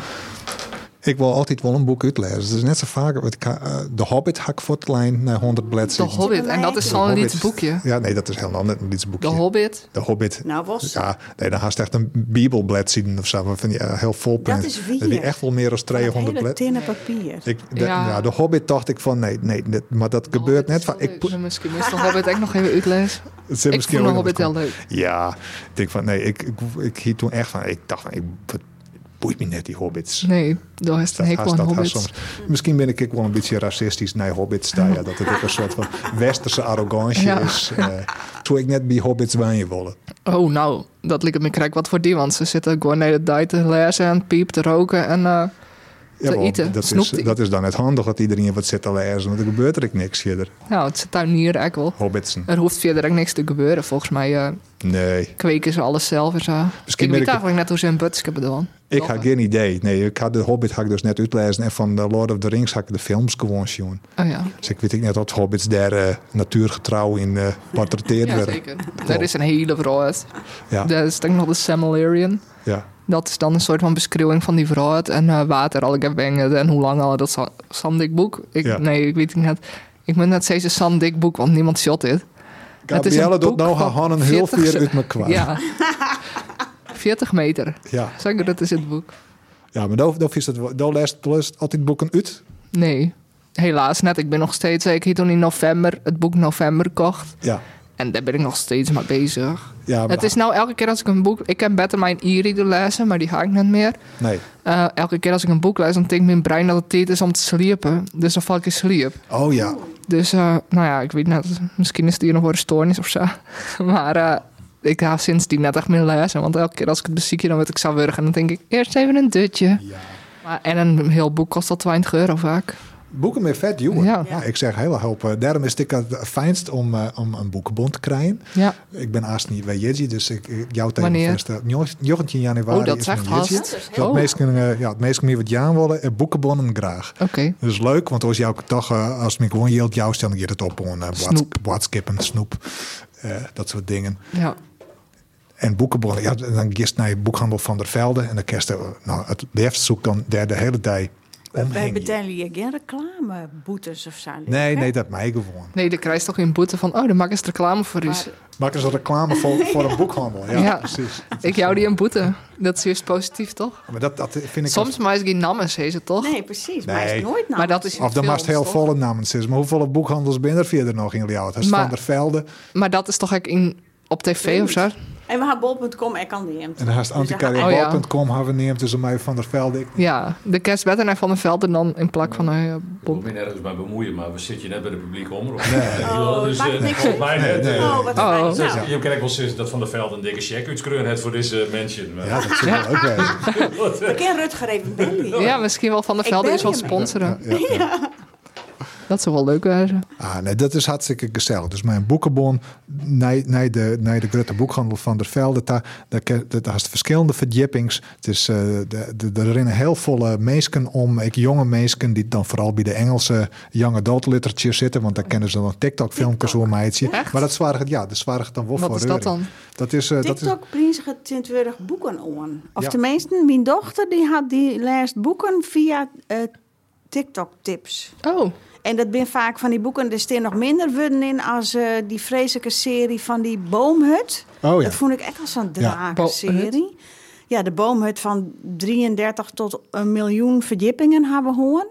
[SPEAKER 2] Ik wil altijd wel een boek uitlezen. Het is net zo vaak, want ik ga, eh, De Hobbit hak voor het lijn naar 100
[SPEAKER 3] De
[SPEAKER 2] bladzijden.
[SPEAKER 3] Hobbit. En dat is
[SPEAKER 2] De
[SPEAKER 3] zo'n
[SPEAKER 2] Hobbit.
[SPEAKER 3] lied boekje.
[SPEAKER 2] Ja, nee, dat is helemaal net een
[SPEAKER 3] De
[SPEAKER 2] boekje.
[SPEAKER 3] Hobbit.
[SPEAKER 2] De Hobbit.
[SPEAKER 4] Nou, was-
[SPEAKER 2] Dus Ja, nee, dan haast echt een bibelblad zien of zo. Maar Van, ja, heel vol print.
[SPEAKER 4] Dat is wier.
[SPEAKER 2] Die echt wel meer dan
[SPEAKER 4] dat
[SPEAKER 2] 200
[SPEAKER 4] hele
[SPEAKER 2] blad.
[SPEAKER 4] tinnen papier.
[SPEAKER 2] Ik, de,
[SPEAKER 3] Ja.
[SPEAKER 2] ja, de Hobbit dacht ik van, nee, nee, dit- maar dat gebeurt net van. Ik,
[SPEAKER 3] Ik misschien moest de Hobbit ook nog even uitlezen.
[SPEAKER 2] het zit
[SPEAKER 3] Ik
[SPEAKER 2] misschien
[SPEAKER 3] vond de
[SPEAKER 2] ook in
[SPEAKER 3] Hobbit
[SPEAKER 2] de-
[SPEAKER 3] heel leuk.
[SPEAKER 2] Ja, ik denk van, nee, ik, ik, ik hield toen echt van, ik dacht van, ik, wat- boeit me net die Hobbits.
[SPEAKER 3] Nee, daar is het een
[SPEAKER 2] Dat haast-
[SPEAKER 3] hekel aan
[SPEAKER 2] dat haast
[SPEAKER 3] Hobbits.
[SPEAKER 2] soms. Misschien ben ik ook wel een beetje racistisch naar hobbits. daar, ja, dat het ook een soort van westerse arrogantie
[SPEAKER 3] Ja.
[SPEAKER 2] is. eh toen ik net bij hobbits wijn wilde.
[SPEAKER 3] Oh, nou, dat lijkt me krek wat voor die, want ze zitten gewoon de hele tijd te lezen en piep te roken en... eh,
[SPEAKER 2] Ja, wel,
[SPEAKER 3] eten.
[SPEAKER 2] dat, is,
[SPEAKER 3] Snoept ie.
[SPEAKER 2] dat is dan net handig dat iedereen wat zit te lezen. Want er gebeurt er ook niks verder.
[SPEAKER 3] nou, het zit daar hier eigenlijk wel.
[SPEAKER 2] Hobbitsen.
[SPEAKER 3] Er hoeft verder ook niks te gebeuren. Volgens mij eh,
[SPEAKER 2] Nee,
[SPEAKER 3] kweken ze alles zelf en zo.
[SPEAKER 2] Misschien
[SPEAKER 3] ik
[SPEAKER 2] ben
[SPEAKER 3] weet
[SPEAKER 2] ik-
[SPEAKER 3] eigenlijk net hoe ze een butske bedoelen.
[SPEAKER 2] ik
[SPEAKER 3] Oh,
[SPEAKER 2] had geen idee. Nee, ik had de Hobbit had ik dus net uitlezen. En van de Lord of the Rings had ik de films gewoon zien.
[SPEAKER 3] Oh ja,
[SPEAKER 2] Dus ik weet ook net wat Hobbits daar eh, natuurgetrouw in eh portretteerd
[SPEAKER 3] ja
[SPEAKER 2] werden.
[SPEAKER 3] zeker. Er is een hele brood.
[SPEAKER 2] Ja,
[SPEAKER 3] Daar is denk ik nog de Samilarian.
[SPEAKER 2] ja.
[SPEAKER 3] dat is dan een soort van beschrijving van die vrouw en eh, water al gebengeld en hoe lang al dat za- Sam dik boek. Ik,
[SPEAKER 2] Ja.
[SPEAKER 3] Nee, ik weet het niet. Ik ben net steeds een Sam dik boek, want niemand shot dit. Het is een
[SPEAKER 2] Gabrielle doet
[SPEAKER 3] boek
[SPEAKER 2] nou haar
[SPEAKER 3] van
[SPEAKER 2] handen heel
[SPEAKER 3] 40
[SPEAKER 2] veel uit elkaar.
[SPEAKER 3] Ja. 40 meter.
[SPEAKER 2] Ja.
[SPEAKER 3] Zeker, dat is het boek.
[SPEAKER 2] ja, maar daar daar vies het wel- daar leest leest altijd boeken uit.
[SPEAKER 3] Nee, helaas net. Ik ben nog steeds, zeker toen in november, het boek November kocht.
[SPEAKER 2] Ja,
[SPEAKER 3] En daar ben ik nog steeds mee bezig.
[SPEAKER 2] ja maar,
[SPEAKER 3] Het is nou elke keer als ik een boek... Ik heb beter mijn e-reader lezen, maar die ga ik net meer.
[SPEAKER 2] nee.
[SPEAKER 3] Eh, elke keer als ik een boek lees, dan denkt mijn brein dat het tijd is om te sliepen. Dus dan val ik in sliep.
[SPEAKER 2] Oh ja,
[SPEAKER 3] Dus, eh, nou ja, ik weet net, misschien is het hier nog wel een stoornis of zo. Maar eh, ik ga sindsdien net echt meer lezen. Want elke keer als ik het beziekje, dan word ik zo wurgen. Dan denk ik, eerst even een dutje. Maar, en een heel boek kost al 20 euro vaak.
[SPEAKER 2] boeken met vet, jongen. Ja.
[SPEAKER 3] Ja.
[SPEAKER 2] ik zeg heel hoop. eh, Daarom is het ik het fijnst om, eh, om een boekenbond te krijgen.
[SPEAKER 3] Ja,
[SPEAKER 2] Ik ben haast niet bij Jitsi, dus ik, ik jouw
[SPEAKER 3] Wanneer?
[SPEAKER 2] tegen 19 januari.
[SPEAKER 3] Oh, dat
[SPEAKER 2] is
[SPEAKER 3] zegt
[SPEAKER 2] mijn Jitsi.
[SPEAKER 3] haast.
[SPEAKER 2] Dus dat
[SPEAKER 3] Oh.
[SPEAKER 2] meestal, eh, ja, het meestal meer wat Jaan willen, en boekenbonnen graag.
[SPEAKER 3] oké.
[SPEAKER 2] Dat is leuk, want als jouw toch, eh, als het me gewoon jeelt, jou stel je het op eh, on
[SPEAKER 3] Snoep.
[SPEAKER 2] WhatsApp en snoep. eh, dat soort dingen.
[SPEAKER 3] Ja.
[SPEAKER 2] En boekenbonnen, ja, dan gist naar je boekhandel van der Velde. En dan kerst eh, nou, het liefst zoek dan daar de hele dag
[SPEAKER 4] Wij
[SPEAKER 2] omheen.
[SPEAKER 4] betalen je geen reclameboetes of zo.
[SPEAKER 2] Nee, nee, dat mij gewoon.
[SPEAKER 3] Nee, dan krijg je toch geen boete van, oh, dan maak eens reclame voor u.
[SPEAKER 2] Maak eens een reclame voor, voor een boekhandel. Ja,
[SPEAKER 3] Ja.
[SPEAKER 2] precies.
[SPEAKER 3] Ik jou die een boete. Dat is juist positief, toch?
[SPEAKER 2] Maar dat, dat vind ik...
[SPEAKER 3] Soms maar is geen namens, heet het toch?
[SPEAKER 4] Nee, precies. Maar hij
[SPEAKER 2] Nee.
[SPEAKER 4] is nooit nou.
[SPEAKER 3] Maar dat is
[SPEAKER 2] Of dan
[SPEAKER 3] veel,
[SPEAKER 2] maakt het heel
[SPEAKER 3] toch?
[SPEAKER 2] volle namens is. Maar hoeveel boekhandels ben er verder nog in Ljouwert? Dat is
[SPEAKER 3] Maar-
[SPEAKER 2] Van der Velde
[SPEAKER 3] Maar dat is toch ook in, op tv of zo?
[SPEAKER 4] En we hebben bol.com en kan die hem. Dus
[SPEAKER 2] en haast
[SPEAKER 3] Oh, ja.
[SPEAKER 2] anticarrière.com hebben we neemt. Dus om mij Van der Velde. Ik-
[SPEAKER 3] Ja, de kerst beter naar Van der Veld en dan in plak van een eh,
[SPEAKER 5] Ik wil me nergens mee bemoeien, maar we zitten net bij de publieke omroep.
[SPEAKER 4] Oh,
[SPEAKER 5] dus,
[SPEAKER 4] maakt
[SPEAKER 5] eh,
[SPEAKER 4] niks
[SPEAKER 5] volgens mij net, eh,
[SPEAKER 4] Oh, wat
[SPEAKER 3] Oh.
[SPEAKER 4] fijn.
[SPEAKER 5] dus
[SPEAKER 4] Nou,
[SPEAKER 5] Je krijgt wel sinds dat Van der Veld een dikke check uitskreun het voor deze eh, mensen. Maar-
[SPEAKER 2] Ja, dat zit wel ook wezen.
[SPEAKER 4] we kennen Rutger even bellen.
[SPEAKER 3] Ja, misschien wel Van der
[SPEAKER 4] Ik
[SPEAKER 3] Velde
[SPEAKER 4] ben
[SPEAKER 3] is wel
[SPEAKER 4] hiermee.
[SPEAKER 3] sponsoren.
[SPEAKER 2] Oh. Ja, ja.
[SPEAKER 3] Dat zou wel leuk zijn.
[SPEAKER 2] Ah, nee, dat is hartstikke gezellig. Dus mijn boekenbon naar naar de, naar de grote boekhandel van der Velde. Daar, daar, ke- dat haast verschillende verdiepings. Het is, eh, de, de, er rennen heel volle meesken om. Ik jonge meesken die dan vooral bij de Engelse young adult literatuur zitten. Want daar kennen ze dan TikTok-filmpjes om meidje.
[SPEAKER 3] Echt?
[SPEAKER 2] Maar dat zwaar het, ja, dat zwaar het dan wel
[SPEAKER 3] Wat
[SPEAKER 2] voor
[SPEAKER 3] is dat
[SPEAKER 2] reuring.
[SPEAKER 3] dan?
[SPEAKER 2] Dat is, eh, dat is,
[SPEAKER 4] TikTok prinsen het 20 boeken aan. Of
[SPEAKER 2] Ja.
[SPEAKER 4] tenminste, mijn dochter die had die leest boeken via eh, TikTok tips.
[SPEAKER 3] Oh,
[SPEAKER 4] En dat ben vaak van die boeken, er staan nog minder woorden in als eh, die vreselijke serie van die boomhut.
[SPEAKER 2] oh ja.
[SPEAKER 4] Dat vond ik echt als een
[SPEAKER 2] Ja.
[SPEAKER 4] drakenserie. Ja, de boomhut van 33 tot een miljoen verdiepingen hebben hoorn.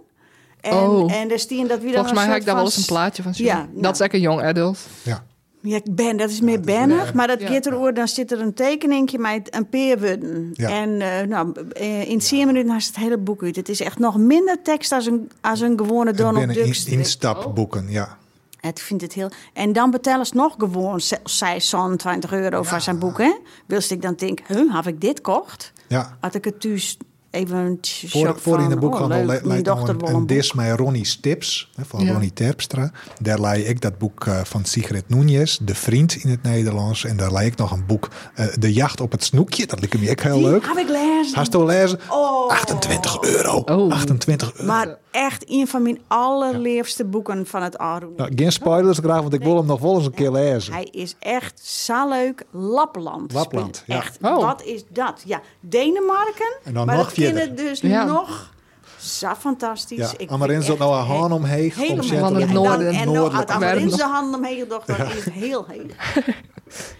[SPEAKER 4] En,
[SPEAKER 3] Oh.
[SPEAKER 4] en er staan dat weer
[SPEAKER 3] volgens mij
[SPEAKER 4] soort
[SPEAKER 3] heb ik daar wel
[SPEAKER 4] van
[SPEAKER 3] eens een plaatje van zien.
[SPEAKER 4] Ja, nou.
[SPEAKER 3] Dat is echt een jong adult.
[SPEAKER 2] ja.
[SPEAKER 4] ja, ik ben, dat is meer bennig, maar dat
[SPEAKER 3] Ja.
[SPEAKER 4] gaat erover, dan zit er een tekeningje met een peerwudden.
[SPEAKER 2] Ja.
[SPEAKER 4] En eh, nou, eh, in 10 minuten is het hele boek uit. Het is echt nog minder tekst als een, als een gewone
[SPEAKER 2] Het
[SPEAKER 4] Donald
[SPEAKER 2] binnen
[SPEAKER 4] Duck.
[SPEAKER 2] in-
[SPEAKER 4] strip.
[SPEAKER 2] instapboeken, ja.
[SPEAKER 4] Het vindt het heel... En dan betalen ze nog gewoon, ze- zij zo'n 20 euro voor zijn boek, hè? Wilst ik dan denken, huh, heb ik dit kocht?
[SPEAKER 2] ja.
[SPEAKER 4] Had ik het thuis even
[SPEAKER 2] Voor, voor in de boekhandel le-
[SPEAKER 4] leidt
[SPEAKER 2] leidt nog
[SPEAKER 4] "Oh, dochter
[SPEAKER 2] een,
[SPEAKER 4] wel
[SPEAKER 2] een
[SPEAKER 4] een boek.
[SPEAKER 2] dis met Ronnie's Tips hè, van
[SPEAKER 3] Ja.
[SPEAKER 2] Ronnie Terpstra. Daar leid ik dat boek eh, van Sigrid Núñez, De Vriend in het Nederlands. En daar leid ik nog een boek, eh, De Jacht op het Snoekje. Dat lijkt me ook heel
[SPEAKER 4] Die
[SPEAKER 2] leuk.
[SPEAKER 4] heb ik lezen.
[SPEAKER 2] Haast al lezen?
[SPEAKER 4] Oh.
[SPEAKER 2] 28 euro.
[SPEAKER 3] Oh.
[SPEAKER 2] 28 euro.
[SPEAKER 4] Maar echt een van mijn allerliefste boeken van het Arun.
[SPEAKER 2] Nou, geen spoilers graag, want ik wil hem nog wel eens een keer lezen.
[SPEAKER 4] Hij is echt zo leuk. Lapland.
[SPEAKER 2] Lapland,
[SPEAKER 4] speelt.
[SPEAKER 2] ja.
[SPEAKER 4] Echt,
[SPEAKER 3] Oh.
[SPEAKER 4] wat is dat? Ja, Denemarken.
[SPEAKER 2] En dan
[SPEAKER 4] maar
[SPEAKER 2] nog
[SPEAKER 4] dat
[SPEAKER 2] verder.
[SPEAKER 4] kennen dus
[SPEAKER 3] Ja.
[SPEAKER 4] nog. Zo fantastisch.
[SPEAKER 2] Ja,
[SPEAKER 4] Ik
[SPEAKER 2] Amarins
[SPEAKER 4] vind
[SPEAKER 2] dat nou
[SPEAKER 4] echt
[SPEAKER 2] een haan omheen,
[SPEAKER 4] helemaal-
[SPEAKER 2] omzetten
[SPEAKER 3] Van het
[SPEAKER 4] en dan-
[SPEAKER 3] noorden.
[SPEAKER 4] En nou,
[SPEAKER 2] Noordelijk.
[SPEAKER 4] had Amarins de
[SPEAKER 3] Werden.
[SPEAKER 4] hand omheen gedacht, dan is het heel heel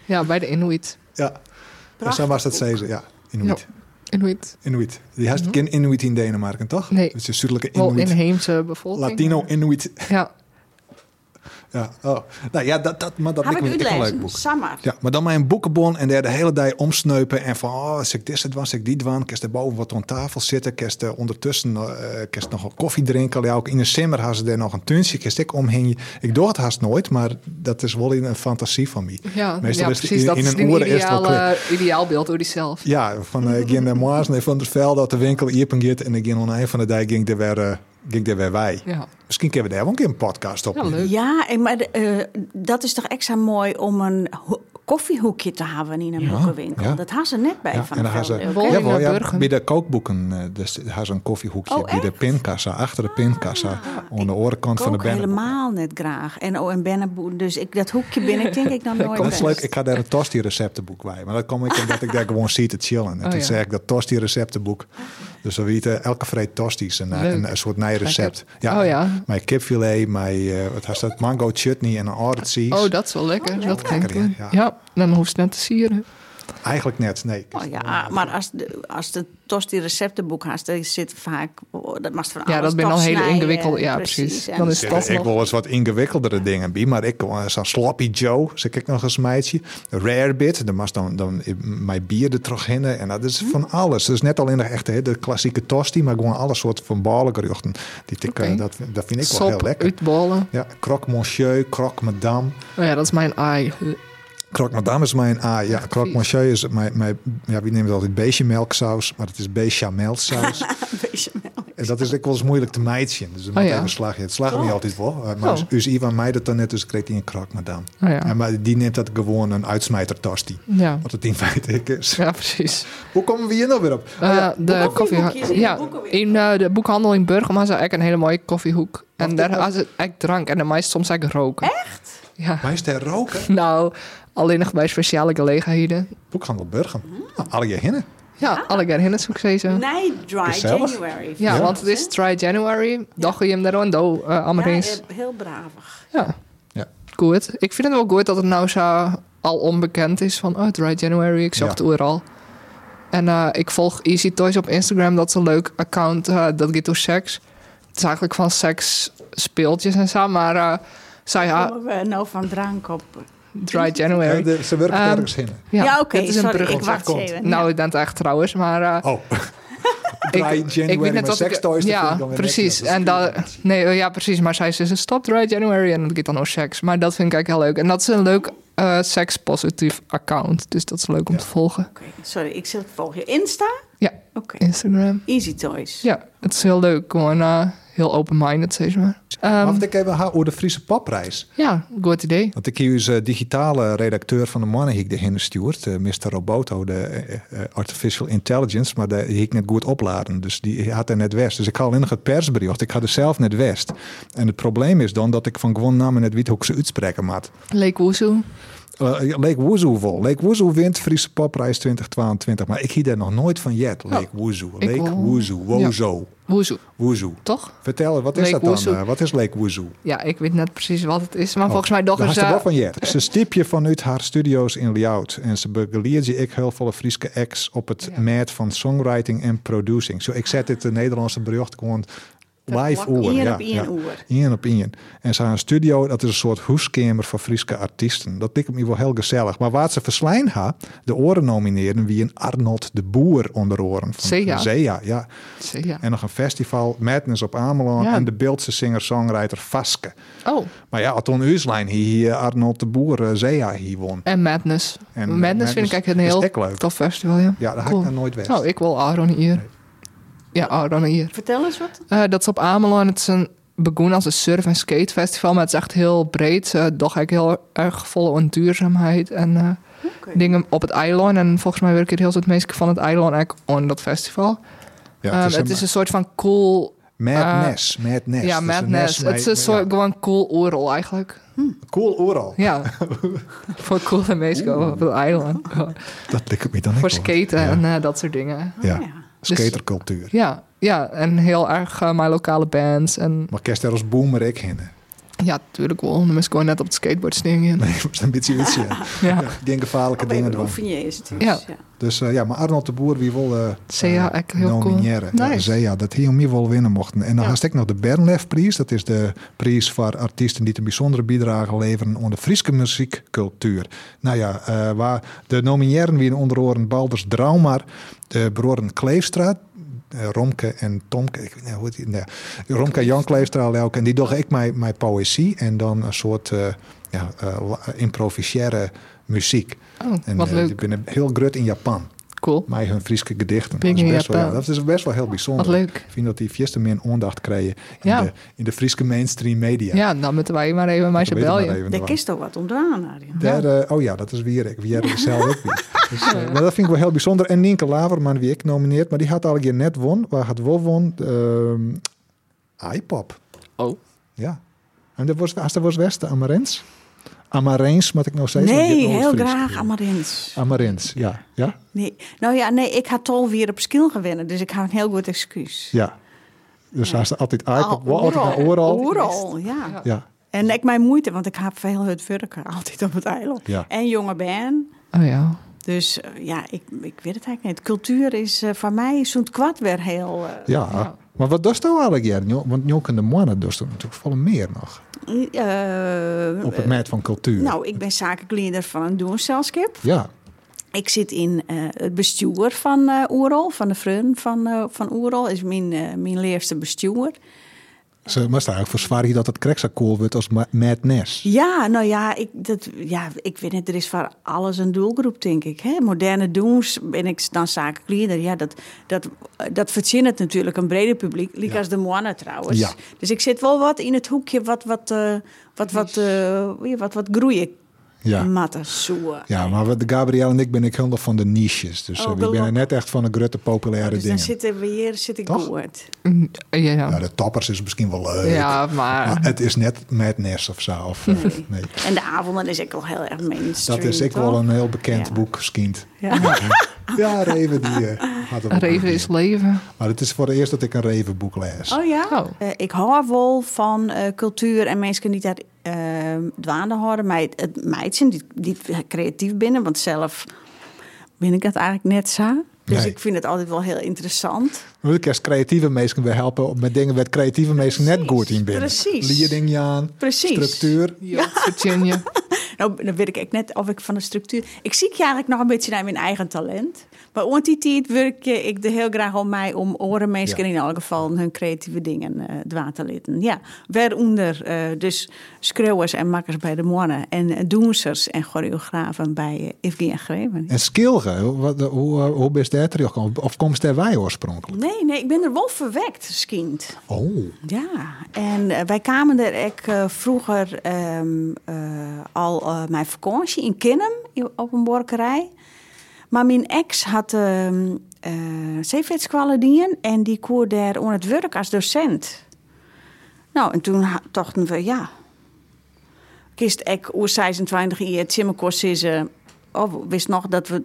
[SPEAKER 3] Ja, bij de Inuit.
[SPEAKER 2] Ja, en zo
[SPEAKER 4] prachtig
[SPEAKER 2] was dat
[SPEAKER 4] boek.
[SPEAKER 2] zezen. Ja, Inuit.
[SPEAKER 3] Ja. Inuit.
[SPEAKER 2] Inuit. Die haast geen Inuit in Denemarken, toch?
[SPEAKER 3] Mhm. Nee.
[SPEAKER 2] Het is een zuidelijke
[SPEAKER 3] Wel
[SPEAKER 2] Inuit.
[SPEAKER 3] inheemse bevolking.
[SPEAKER 2] Latino Inuit.
[SPEAKER 3] Ja,
[SPEAKER 2] Ja, oh. nou ja, dat, dat, maar dat
[SPEAKER 4] Heb
[SPEAKER 2] lijkt
[SPEAKER 4] ik
[SPEAKER 2] me
[SPEAKER 4] u
[SPEAKER 2] echt een leuk
[SPEAKER 4] lezen?
[SPEAKER 2] boek.
[SPEAKER 4] Samar.
[SPEAKER 2] Ja, maar dan mijn boekenbon en daar de hele dag omsneupen. En van, oh, als ik dit was, als ik die dwan. Kerst er boven wat aan tafel zitten. Kerst er ondertussen eh kerst nog een koffie drinken. Ja, ook in de simmer had ze daar nog een tuntje. Kerst ik omheen. Ik doe het haast nooit, maar dat is wel in een fantasie van mij.
[SPEAKER 3] ja,
[SPEAKER 2] Meestal
[SPEAKER 3] ja
[SPEAKER 2] is het
[SPEAKER 3] precies.
[SPEAKER 2] in-
[SPEAKER 3] dat
[SPEAKER 2] in
[SPEAKER 3] is
[SPEAKER 2] een
[SPEAKER 3] een
[SPEAKER 2] oren eerst wel
[SPEAKER 3] ideale, ideaalbeeld door diezelf.
[SPEAKER 2] Ja, van eh, ik ging naar Maas en van der Velde dat de winkel iepengeert. En ik ging aan het eind van de dag ging er weer, eh, ging er weer wij.
[SPEAKER 3] Ja.
[SPEAKER 2] Misschien kunnen we daar wel een keer een podcast op.
[SPEAKER 3] ja, leuk.
[SPEAKER 4] Ja, en maar de, eh, dat is toch extra mooi om een ho- koffiehoekje te hebben in een
[SPEAKER 2] Ja,
[SPEAKER 4] boekenwinkel.
[SPEAKER 2] ja.
[SPEAKER 4] Dat had ze net bij van
[SPEAKER 2] en
[SPEAKER 4] de
[SPEAKER 2] dan gaan ze,
[SPEAKER 4] Veldhoek,
[SPEAKER 3] Wol-
[SPEAKER 4] hè?
[SPEAKER 3] Wollen
[SPEAKER 2] ja, wel, ja,
[SPEAKER 3] Burgen.
[SPEAKER 2] bij de kookboeken, eh, dus gaan ze een koffiehoekje
[SPEAKER 4] Oh,
[SPEAKER 2] bij de pinkassa, achter de pinkassa,
[SPEAKER 3] Ah,
[SPEAKER 2] aan de orenkant van de
[SPEAKER 4] kook
[SPEAKER 2] banner.
[SPEAKER 4] helemaal net graag. En oh, en Benneboe. Dus ik, dat hoekje ben ik denk ik nog nooit
[SPEAKER 2] Dat is leuk.
[SPEAKER 4] geweest.
[SPEAKER 2] Ik ga daar een tosti receptenboek bij. Maar dat kom ik omdat ik daar gewoon zie te chillen. En
[SPEAKER 3] Oh,
[SPEAKER 2] toen
[SPEAKER 3] ja.
[SPEAKER 2] zei ik dat tosti receptenboek. Dus we weten elke vreet tosti's en
[SPEAKER 3] Leuk.
[SPEAKER 2] een, een soort nieuw recept.
[SPEAKER 3] Oh, ja.
[SPEAKER 2] Mijn kipfilet, mijn eh, wat was dat? Mango chutney en een aardsies.
[SPEAKER 3] Oh, dat is wel lekker. dat klinkt
[SPEAKER 2] lekker,
[SPEAKER 3] goed.
[SPEAKER 2] ja,
[SPEAKER 3] Ja.
[SPEAKER 2] ja.
[SPEAKER 3] dan hoeft het net te sieren.
[SPEAKER 2] Eigenlijk net, nee.
[SPEAKER 4] Oh ja, maar als de, als de tosti receptenboek haast, dan zit vaak oh, dat mag van
[SPEAKER 3] Ja,
[SPEAKER 4] alles
[SPEAKER 3] dat ben al hele
[SPEAKER 4] topsnijden,
[SPEAKER 3] ingewikkeld. Ja, precies.
[SPEAKER 4] en-
[SPEAKER 3] Dan is-
[SPEAKER 2] Ik
[SPEAKER 3] dat
[SPEAKER 2] ik
[SPEAKER 3] nog-
[SPEAKER 2] wil eens wat ingewikkeldere dingen bij, maar ik eh, zo'n sloppy Joe, zeg ik nog eens meidje. Rare bit, dan mag dan, dan mijn bier er terug in en dat is van alles. Dus net al in de echte hè, de klassieke tosti, maar gewoon alle soorten van ballengeruchten. Die ik, eh,
[SPEAKER 3] Oké.
[SPEAKER 2] dat, dat vind ik wel heel
[SPEAKER 3] Sop,
[SPEAKER 2] lekker.
[SPEAKER 3] uitbollen.
[SPEAKER 2] Ja, croque monsieur, croque madame.
[SPEAKER 3] Oh ja, dat is mijn ei.
[SPEAKER 2] Croque madame is mijn A. ah, Ja, croque
[SPEAKER 3] vies.
[SPEAKER 2] monsieur is mijn, mijn ja, wie neemt altijd bechemelksaus, maar het is bechamelsaus. En dat is ook wel eens moeilijk te meidje. Dus dan
[SPEAKER 3] Oh
[SPEAKER 2] moet
[SPEAKER 3] ja.
[SPEAKER 2] even slag je. Het slaagt niet altijd wel. eh, Maar
[SPEAKER 3] Oh.
[SPEAKER 2] dus dus Ivan mij dat dan net, dus kreeg hij een krak, madame.
[SPEAKER 3] Oh ja.
[SPEAKER 2] En maar die neemt dat gewoon een uitsmijtertastie.
[SPEAKER 3] Ja.
[SPEAKER 2] Wat het in feite ik is.
[SPEAKER 3] ja, precies.
[SPEAKER 2] Hoe komen we hier nou weer op?
[SPEAKER 3] Eh, de
[SPEAKER 4] koffiehoekjes in
[SPEAKER 3] koffie,
[SPEAKER 4] de
[SPEAKER 3] ja,
[SPEAKER 4] boekenwinkel.
[SPEAKER 3] in eh, de boekhandel in Burgum had ze eigenlijk een hele mooie koffiehoek. En
[SPEAKER 2] dit
[SPEAKER 3] daar
[SPEAKER 2] nog?
[SPEAKER 3] had ze echt drank en dan meest soms eigenlijk roken. Echt? Ja.
[SPEAKER 2] Wij is ter roken.
[SPEAKER 3] Nou, alleen nog bij speciale gelegenheden.
[SPEAKER 2] Boekhandel Burgum. Nou, alle je hinnen.
[SPEAKER 3] Ja,
[SPEAKER 4] Ah.
[SPEAKER 3] alle keer ook steeds. Ja,
[SPEAKER 4] Nee, dry
[SPEAKER 2] Gezellig.
[SPEAKER 4] January.
[SPEAKER 3] eh, ja, want het is Try January. Dag je hem daar aan doe, eh,
[SPEAKER 4] Ja,
[SPEAKER 3] Amerikaans.
[SPEAKER 4] eh, heel bravig.
[SPEAKER 3] Ja,
[SPEAKER 2] Ja.
[SPEAKER 3] goed. Ik vind het wel goed dat het nou zo al onbekend is van... oh, Dry January, ik zag
[SPEAKER 2] Ja.
[SPEAKER 3] het overal. En eh, ik volg Easy Toys op Instagram. Dat is een leuk account. eh, dat gaat door seks. Het is eigenlijk van seks speeltjes en zo. Maar eh, zij... ha-
[SPEAKER 4] Komen we nou van drank op?
[SPEAKER 3] Dry January.
[SPEAKER 2] Ja, de- ze werken
[SPEAKER 3] Ehm,
[SPEAKER 2] ergens hinnen.
[SPEAKER 4] Ja,
[SPEAKER 3] Ja,
[SPEAKER 4] oké,
[SPEAKER 3] dit is een
[SPEAKER 4] sorry,
[SPEAKER 3] brug.
[SPEAKER 4] ik wacht
[SPEAKER 2] Komt.
[SPEAKER 4] even.
[SPEAKER 3] Nou,
[SPEAKER 4] Ja.
[SPEAKER 3] ik ben het echt trouwens, maar... eh,
[SPEAKER 2] Oh. Dry January met
[SPEAKER 3] of ik-
[SPEAKER 2] sekstoys, dat vind
[SPEAKER 3] Ja,
[SPEAKER 2] ik dan weer
[SPEAKER 3] precies.
[SPEAKER 2] netjes.
[SPEAKER 3] en dat, nee, eh, ja, precies. Maar zij ze stop Dry January en dat gaat dan over seks. Maar dat vind ik eigenlijk heel leuk. En dat is een leuk eh, sekspositief account. Dus dat is leuk om te volgen.
[SPEAKER 4] Oké, sorry, ik zit volg je Insta?
[SPEAKER 3] Ja,
[SPEAKER 4] Oké.
[SPEAKER 3] Instagram.
[SPEAKER 4] Easy Toys.
[SPEAKER 3] Ja, het is heel leuk. Gewoon eh, heel open-minded, zeg maar. Ehm,
[SPEAKER 2] Maar wat ik even hou over de Friese papprijs.
[SPEAKER 3] ja, goed idee.
[SPEAKER 2] Want ik hier is digitale redacteur van de mannen die ik erheen stuurt, eh, Mr. Roboto, de eh, eh, Artificial Intelligence, maar daar hiek net goed opladen. Dus die had er net west. Dus ik had alleen nog het persbericht. Ik had er zelf net west. En het probleem is dan dat ik van gewoon namen net weet hoe ik ze uitspreken maat.
[SPEAKER 3] Lake Woezoe.
[SPEAKER 2] Eh Lake Woezoe vol. Lake Woezoe wint Friese popprijs 2022. Maar ik hier daar nog nooit van jet. Lake Woezoe.
[SPEAKER 3] ik
[SPEAKER 2] Lake
[SPEAKER 3] wel.
[SPEAKER 2] Woezoe. Wozo.
[SPEAKER 3] Woezoe,
[SPEAKER 2] Woezoe.
[SPEAKER 3] toch?
[SPEAKER 2] Vertel, wat is
[SPEAKER 3] Lake
[SPEAKER 2] dat dan?
[SPEAKER 3] Woezoe.
[SPEAKER 2] eh, wat is Lake Woezoe?
[SPEAKER 3] Ja, ik weet net precies wat het is. Maar volgens mij toch
[SPEAKER 2] Oh, Daar
[SPEAKER 3] is...
[SPEAKER 2] had ze
[SPEAKER 3] eh,
[SPEAKER 2] wel van je. Ze stiep je vanuit haar studio's in Liaut. En ze begeleert je ik heel volle Friese acts op het
[SPEAKER 3] Ja.
[SPEAKER 2] mat van songwriting en producing. Zo, ik zet dit de Nederlandse bericht gewoon live
[SPEAKER 4] plakt
[SPEAKER 2] oor.
[SPEAKER 4] één
[SPEAKER 2] Ja,
[SPEAKER 4] op één
[SPEAKER 2] ja.
[SPEAKER 4] oor.
[SPEAKER 2] Één op één. En ze haar studio, dat is een soort hoeskamer voor Friese artiesten. Dat ik me wel heel gezellig. Maar waar ze verslijn ha, de oren nomineren wie een Arnold de Boer onder oren. Van
[SPEAKER 3] Zea.
[SPEAKER 2] Zea, ja.
[SPEAKER 3] ja.
[SPEAKER 2] En nog een festival, Madness op Ameland.
[SPEAKER 3] Ja.
[SPEAKER 2] En de Beeldse singer-songwriter Vaske.
[SPEAKER 3] Oh,
[SPEAKER 2] Maar ja, Anton Uuslijn hier, Arnold de Boer, eh, Zea hier won.
[SPEAKER 3] en Madness.
[SPEAKER 2] En
[SPEAKER 3] Madness, vind
[SPEAKER 2] Madness
[SPEAKER 3] ik eigenlijk
[SPEAKER 2] is
[SPEAKER 3] een
[SPEAKER 2] echt
[SPEAKER 3] heel
[SPEAKER 2] leuk.
[SPEAKER 3] tof festival, ja.
[SPEAKER 2] Ja, daar had
[SPEAKER 3] Cool.
[SPEAKER 2] ik dan nooit weg.
[SPEAKER 3] Nou, ik wil Aaron hier. Ja, Aaron hier.
[SPEAKER 4] Vertel eens wat.
[SPEAKER 3] Eh, dat is op Ameland. Het is een begonnen als een surf- en skatefestival, maar het is echt heel breed. eh toch eigenlijk heel erg vol aan duurzaamheid en eh,
[SPEAKER 4] Oké.
[SPEAKER 3] dingen op het eiland. En volgens mij werken het heel veel mensen van het eiland eigenlijk aan dat festival.
[SPEAKER 2] ja,
[SPEAKER 3] Ehm, het is een soort van cool...
[SPEAKER 2] Madness, Madness.
[SPEAKER 3] ja,
[SPEAKER 2] Dus een nest
[SPEAKER 3] madness. Het is een
[SPEAKER 2] met-
[SPEAKER 3] soort
[SPEAKER 2] ja.
[SPEAKER 3] gewoon cool oral eigenlijk.
[SPEAKER 2] Cool oral.
[SPEAKER 3] Ja. Voor coole mensen op het eiland.
[SPEAKER 2] Dat lijkt me dan
[SPEAKER 3] Voor dus-
[SPEAKER 2] ook wel.
[SPEAKER 3] skaten
[SPEAKER 2] Ja.
[SPEAKER 3] en eh, dat soort dingen.
[SPEAKER 2] Ja,
[SPEAKER 4] Oh, ja.
[SPEAKER 2] skatercultuur.
[SPEAKER 3] Ja, ja en heel erg eh, mijn lokale bands. En
[SPEAKER 2] Maar kerst er als boomer ik heen.
[SPEAKER 3] ja, natuurlijk wel. Dan moest ik gewoon net op het skateboard stingen.
[SPEAKER 2] Nee, dat is een beetje iets. Ja. Ja,
[SPEAKER 3] Ja.
[SPEAKER 2] geen gevaarlijke
[SPEAKER 4] Op
[SPEAKER 2] dingen
[SPEAKER 4] een
[SPEAKER 2] doen.
[SPEAKER 4] oefenje is het dus.
[SPEAKER 3] Ja.
[SPEAKER 2] Dus eh, ja, maar Arnold de Boer, wie wil eh
[SPEAKER 3] Zea,
[SPEAKER 2] eh,
[SPEAKER 3] echt heel cool.
[SPEAKER 2] nomineren. Ja,
[SPEAKER 3] Nice.
[SPEAKER 2] Zea, dat hij om je wel winnen mochten. En dan
[SPEAKER 3] Ja.
[SPEAKER 2] had ik nog de Bernlefprijs. Dat is de prijs voor artiesten die een bijzondere bijdrage leveren aan de Friese muziekcultuur. Nou ja, eh, waar de nomineren wie onder oren Balders Draumar, de broeren Kleefstra, eh, Romke en Tomke, ik weet niet hoe het nee, Romke Jan Kleefstra, Leuke, en die dacht ik mijn, mijn poëzie en dan een soort eh ja, eh, la- improvisaire muziek.
[SPEAKER 3] Oh,
[SPEAKER 2] En
[SPEAKER 3] wat
[SPEAKER 2] eh,
[SPEAKER 3] leuk.
[SPEAKER 2] die binnen heel grut in Japan.
[SPEAKER 3] Cool.
[SPEAKER 2] mij hun Friese gedichten.
[SPEAKER 3] Pik
[SPEAKER 2] Dat is,
[SPEAKER 3] in
[SPEAKER 2] best wel, ja,
[SPEAKER 3] Japan.
[SPEAKER 2] dat is best wel heel bijzonder.
[SPEAKER 3] Wat leuk.
[SPEAKER 2] Ik vind dat die vierste meer aandacht krijgen in,
[SPEAKER 3] Ja.
[SPEAKER 2] de, in de Friese mainstream media.
[SPEAKER 3] Ja, dan moeten wij maar even met ze
[SPEAKER 2] Dat weet ik maar
[SPEAKER 3] belden.
[SPEAKER 2] even
[SPEAKER 4] Daar
[SPEAKER 2] nog.
[SPEAKER 4] kist toch wat ontdaan, Arjan.
[SPEAKER 2] Daar, eh, oh ja, dat is Wierik. Wierik is zelf ook weer. Dus, eh, maar dat vind ik wel heel bijzonder. En Nienke Laverman, wie ik nomineert, maar die had al een keer net won. Waar had wel won? Ehm iPop.
[SPEAKER 3] Oh.
[SPEAKER 2] Ja. En dat was, als dat was Westen, Amarens. Amarens, moet ik nou steeds want ik
[SPEAKER 4] Nee,
[SPEAKER 2] heb
[SPEAKER 4] heel
[SPEAKER 2] Noord-Fries
[SPEAKER 4] graag,
[SPEAKER 2] gezien.
[SPEAKER 4] Amarins.
[SPEAKER 2] Amarens, ja. Ja?
[SPEAKER 4] Nee. Nou ja, nee, ik had tol weer op skill gewinnen, dus ik had een heel goed excuus.
[SPEAKER 2] Ja. Dus als er altijd iPop,
[SPEAKER 4] Al-
[SPEAKER 2] altijd naar
[SPEAKER 4] Oeral.
[SPEAKER 2] oral.
[SPEAKER 4] Oeral, ja.
[SPEAKER 2] Ja.
[SPEAKER 4] En ik mijn moeite, want ik heb veel het werken altijd op het eiland.
[SPEAKER 2] Ja.
[SPEAKER 4] En jonge ben.
[SPEAKER 3] Oh ja.
[SPEAKER 4] Dus eh, ja, ik, ik weet het eigenlijk niet. Cultuur is eh, voor mij zo'n kwad weer heel... eh,
[SPEAKER 2] Ja. Maar wat doe je nou eigenlijk, Jaren? Jo- Want nu kunnen de mannen dus natuurlijk veel meer nog.
[SPEAKER 4] eh,
[SPEAKER 2] Op het meet van cultuur.
[SPEAKER 4] nou, ik ben zakelijk leider van een doencelskip.
[SPEAKER 2] Ja.
[SPEAKER 4] Ik zit in eh, het bestuur van eh Oerol, van de Frun van, eh van Oerol. is mijn, eh mijn leerste bestuur.
[SPEAKER 2] Ze maar eigenlijk verzwaar je dat het kreksakool wordt als ma- madness.
[SPEAKER 4] Ja, nou ja, ik, dat, ja, ik weet niet, er is voor alles een doelgroep, denk ik. Hè? Moderne doens, ben ik dan zakelijk leider. Ja, dat, dat, eh, dat verzin het natuurlijk een breder publiek, liek als de Moana trouwens.
[SPEAKER 2] Ja.
[SPEAKER 4] Dus ik zit wel wat in het hoekje wat wat, eh, wat, wat, eh, ja, wat, wat groeien.
[SPEAKER 2] Ja.
[SPEAKER 4] Matten, zoen.
[SPEAKER 2] Ja, maar wat Gabriel en ik ben ik helemaal van de niches. Dus
[SPEAKER 4] Oh,
[SPEAKER 2] eh, ik ben
[SPEAKER 4] gelukkig.
[SPEAKER 2] er net echt van de grote populaire
[SPEAKER 4] Dus dan
[SPEAKER 2] dingen.
[SPEAKER 4] zitten we hier, zit ik
[SPEAKER 2] Toch?
[SPEAKER 4] goed.
[SPEAKER 3] Mm, Ja,
[SPEAKER 2] Ja,
[SPEAKER 3] ja.
[SPEAKER 2] de toppers is misschien wel leuk.
[SPEAKER 3] Ja,
[SPEAKER 2] Maar
[SPEAKER 3] maar...
[SPEAKER 2] het is net madness of zo. Of, eh, nee.
[SPEAKER 4] En de avonden is ik wel heel erg mainstream.
[SPEAKER 2] Dat is ik wel
[SPEAKER 4] toch?
[SPEAKER 2] een heel bekend
[SPEAKER 4] Ja.
[SPEAKER 2] boek, Skint.
[SPEAKER 4] Ja.
[SPEAKER 2] Ja, Reven die eh, had hem ook
[SPEAKER 3] Reven
[SPEAKER 2] nog
[SPEAKER 3] is
[SPEAKER 2] niet.
[SPEAKER 3] leven.
[SPEAKER 2] Maar het is voor het eerst dat ik een Revenboek lees.
[SPEAKER 4] Oh ja?
[SPEAKER 3] Oh.
[SPEAKER 4] Eh, ik hou wel van eh, cultuur en mensen kunnen niet daar uh, dwaande houden. Maar het, het meidje, die, die creatief binnen, want zelf ben ik dat eigenlijk net zo. Dus
[SPEAKER 2] Nee.
[SPEAKER 4] ik vind het altijd wel heel interessant.
[SPEAKER 2] We kunnen creatieve mensen weer helpen om met dingen waar creatieve mensen net
[SPEAKER 4] Precies,
[SPEAKER 2] goed in binnen.
[SPEAKER 4] precies.
[SPEAKER 2] Leading, Jaan,
[SPEAKER 4] Precies.
[SPEAKER 2] structuur.
[SPEAKER 3] Ja, Virginia.
[SPEAKER 4] Nou, dan weet ik eigenlijk net of ik van de structuur... Ik zie eigenlijk nog een beetje naar mijn eigen talent. Maar rond die tijd werk je- ik er heel graag om mij... om oren mensen
[SPEAKER 2] Ja.
[SPEAKER 4] in elk geval hun creatieve dingen eh dwaan te laten. Ja, waaronder eh, dus schreeuwers en makkers bij de mannen... en eh, doensers en choreografen bij uh, Evgenia Greven.
[SPEAKER 2] En Skilge, wat, eh, hoe, hoe ben je daar teruggekomen? Of komt het daar wij oorspronkelijk?
[SPEAKER 4] Nee, nee, ik ben er wel verwekt, skind.
[SPEAKER 2] Oh,
[SPEAKER 4] Ja, en eh, wij kwamen er ek, eh, vroeger ehm, eh, al eh, mijn vakantie in Kinnem i- op een borkerij. Maar mijn ex had ehm eh zeeveerskwallen en die koer daar aan het werk als docent. Nou, en toen ha- dachten we, ja, kist ik oer 26 jaar Timmerkors is, eh, oh, we wist nog dat we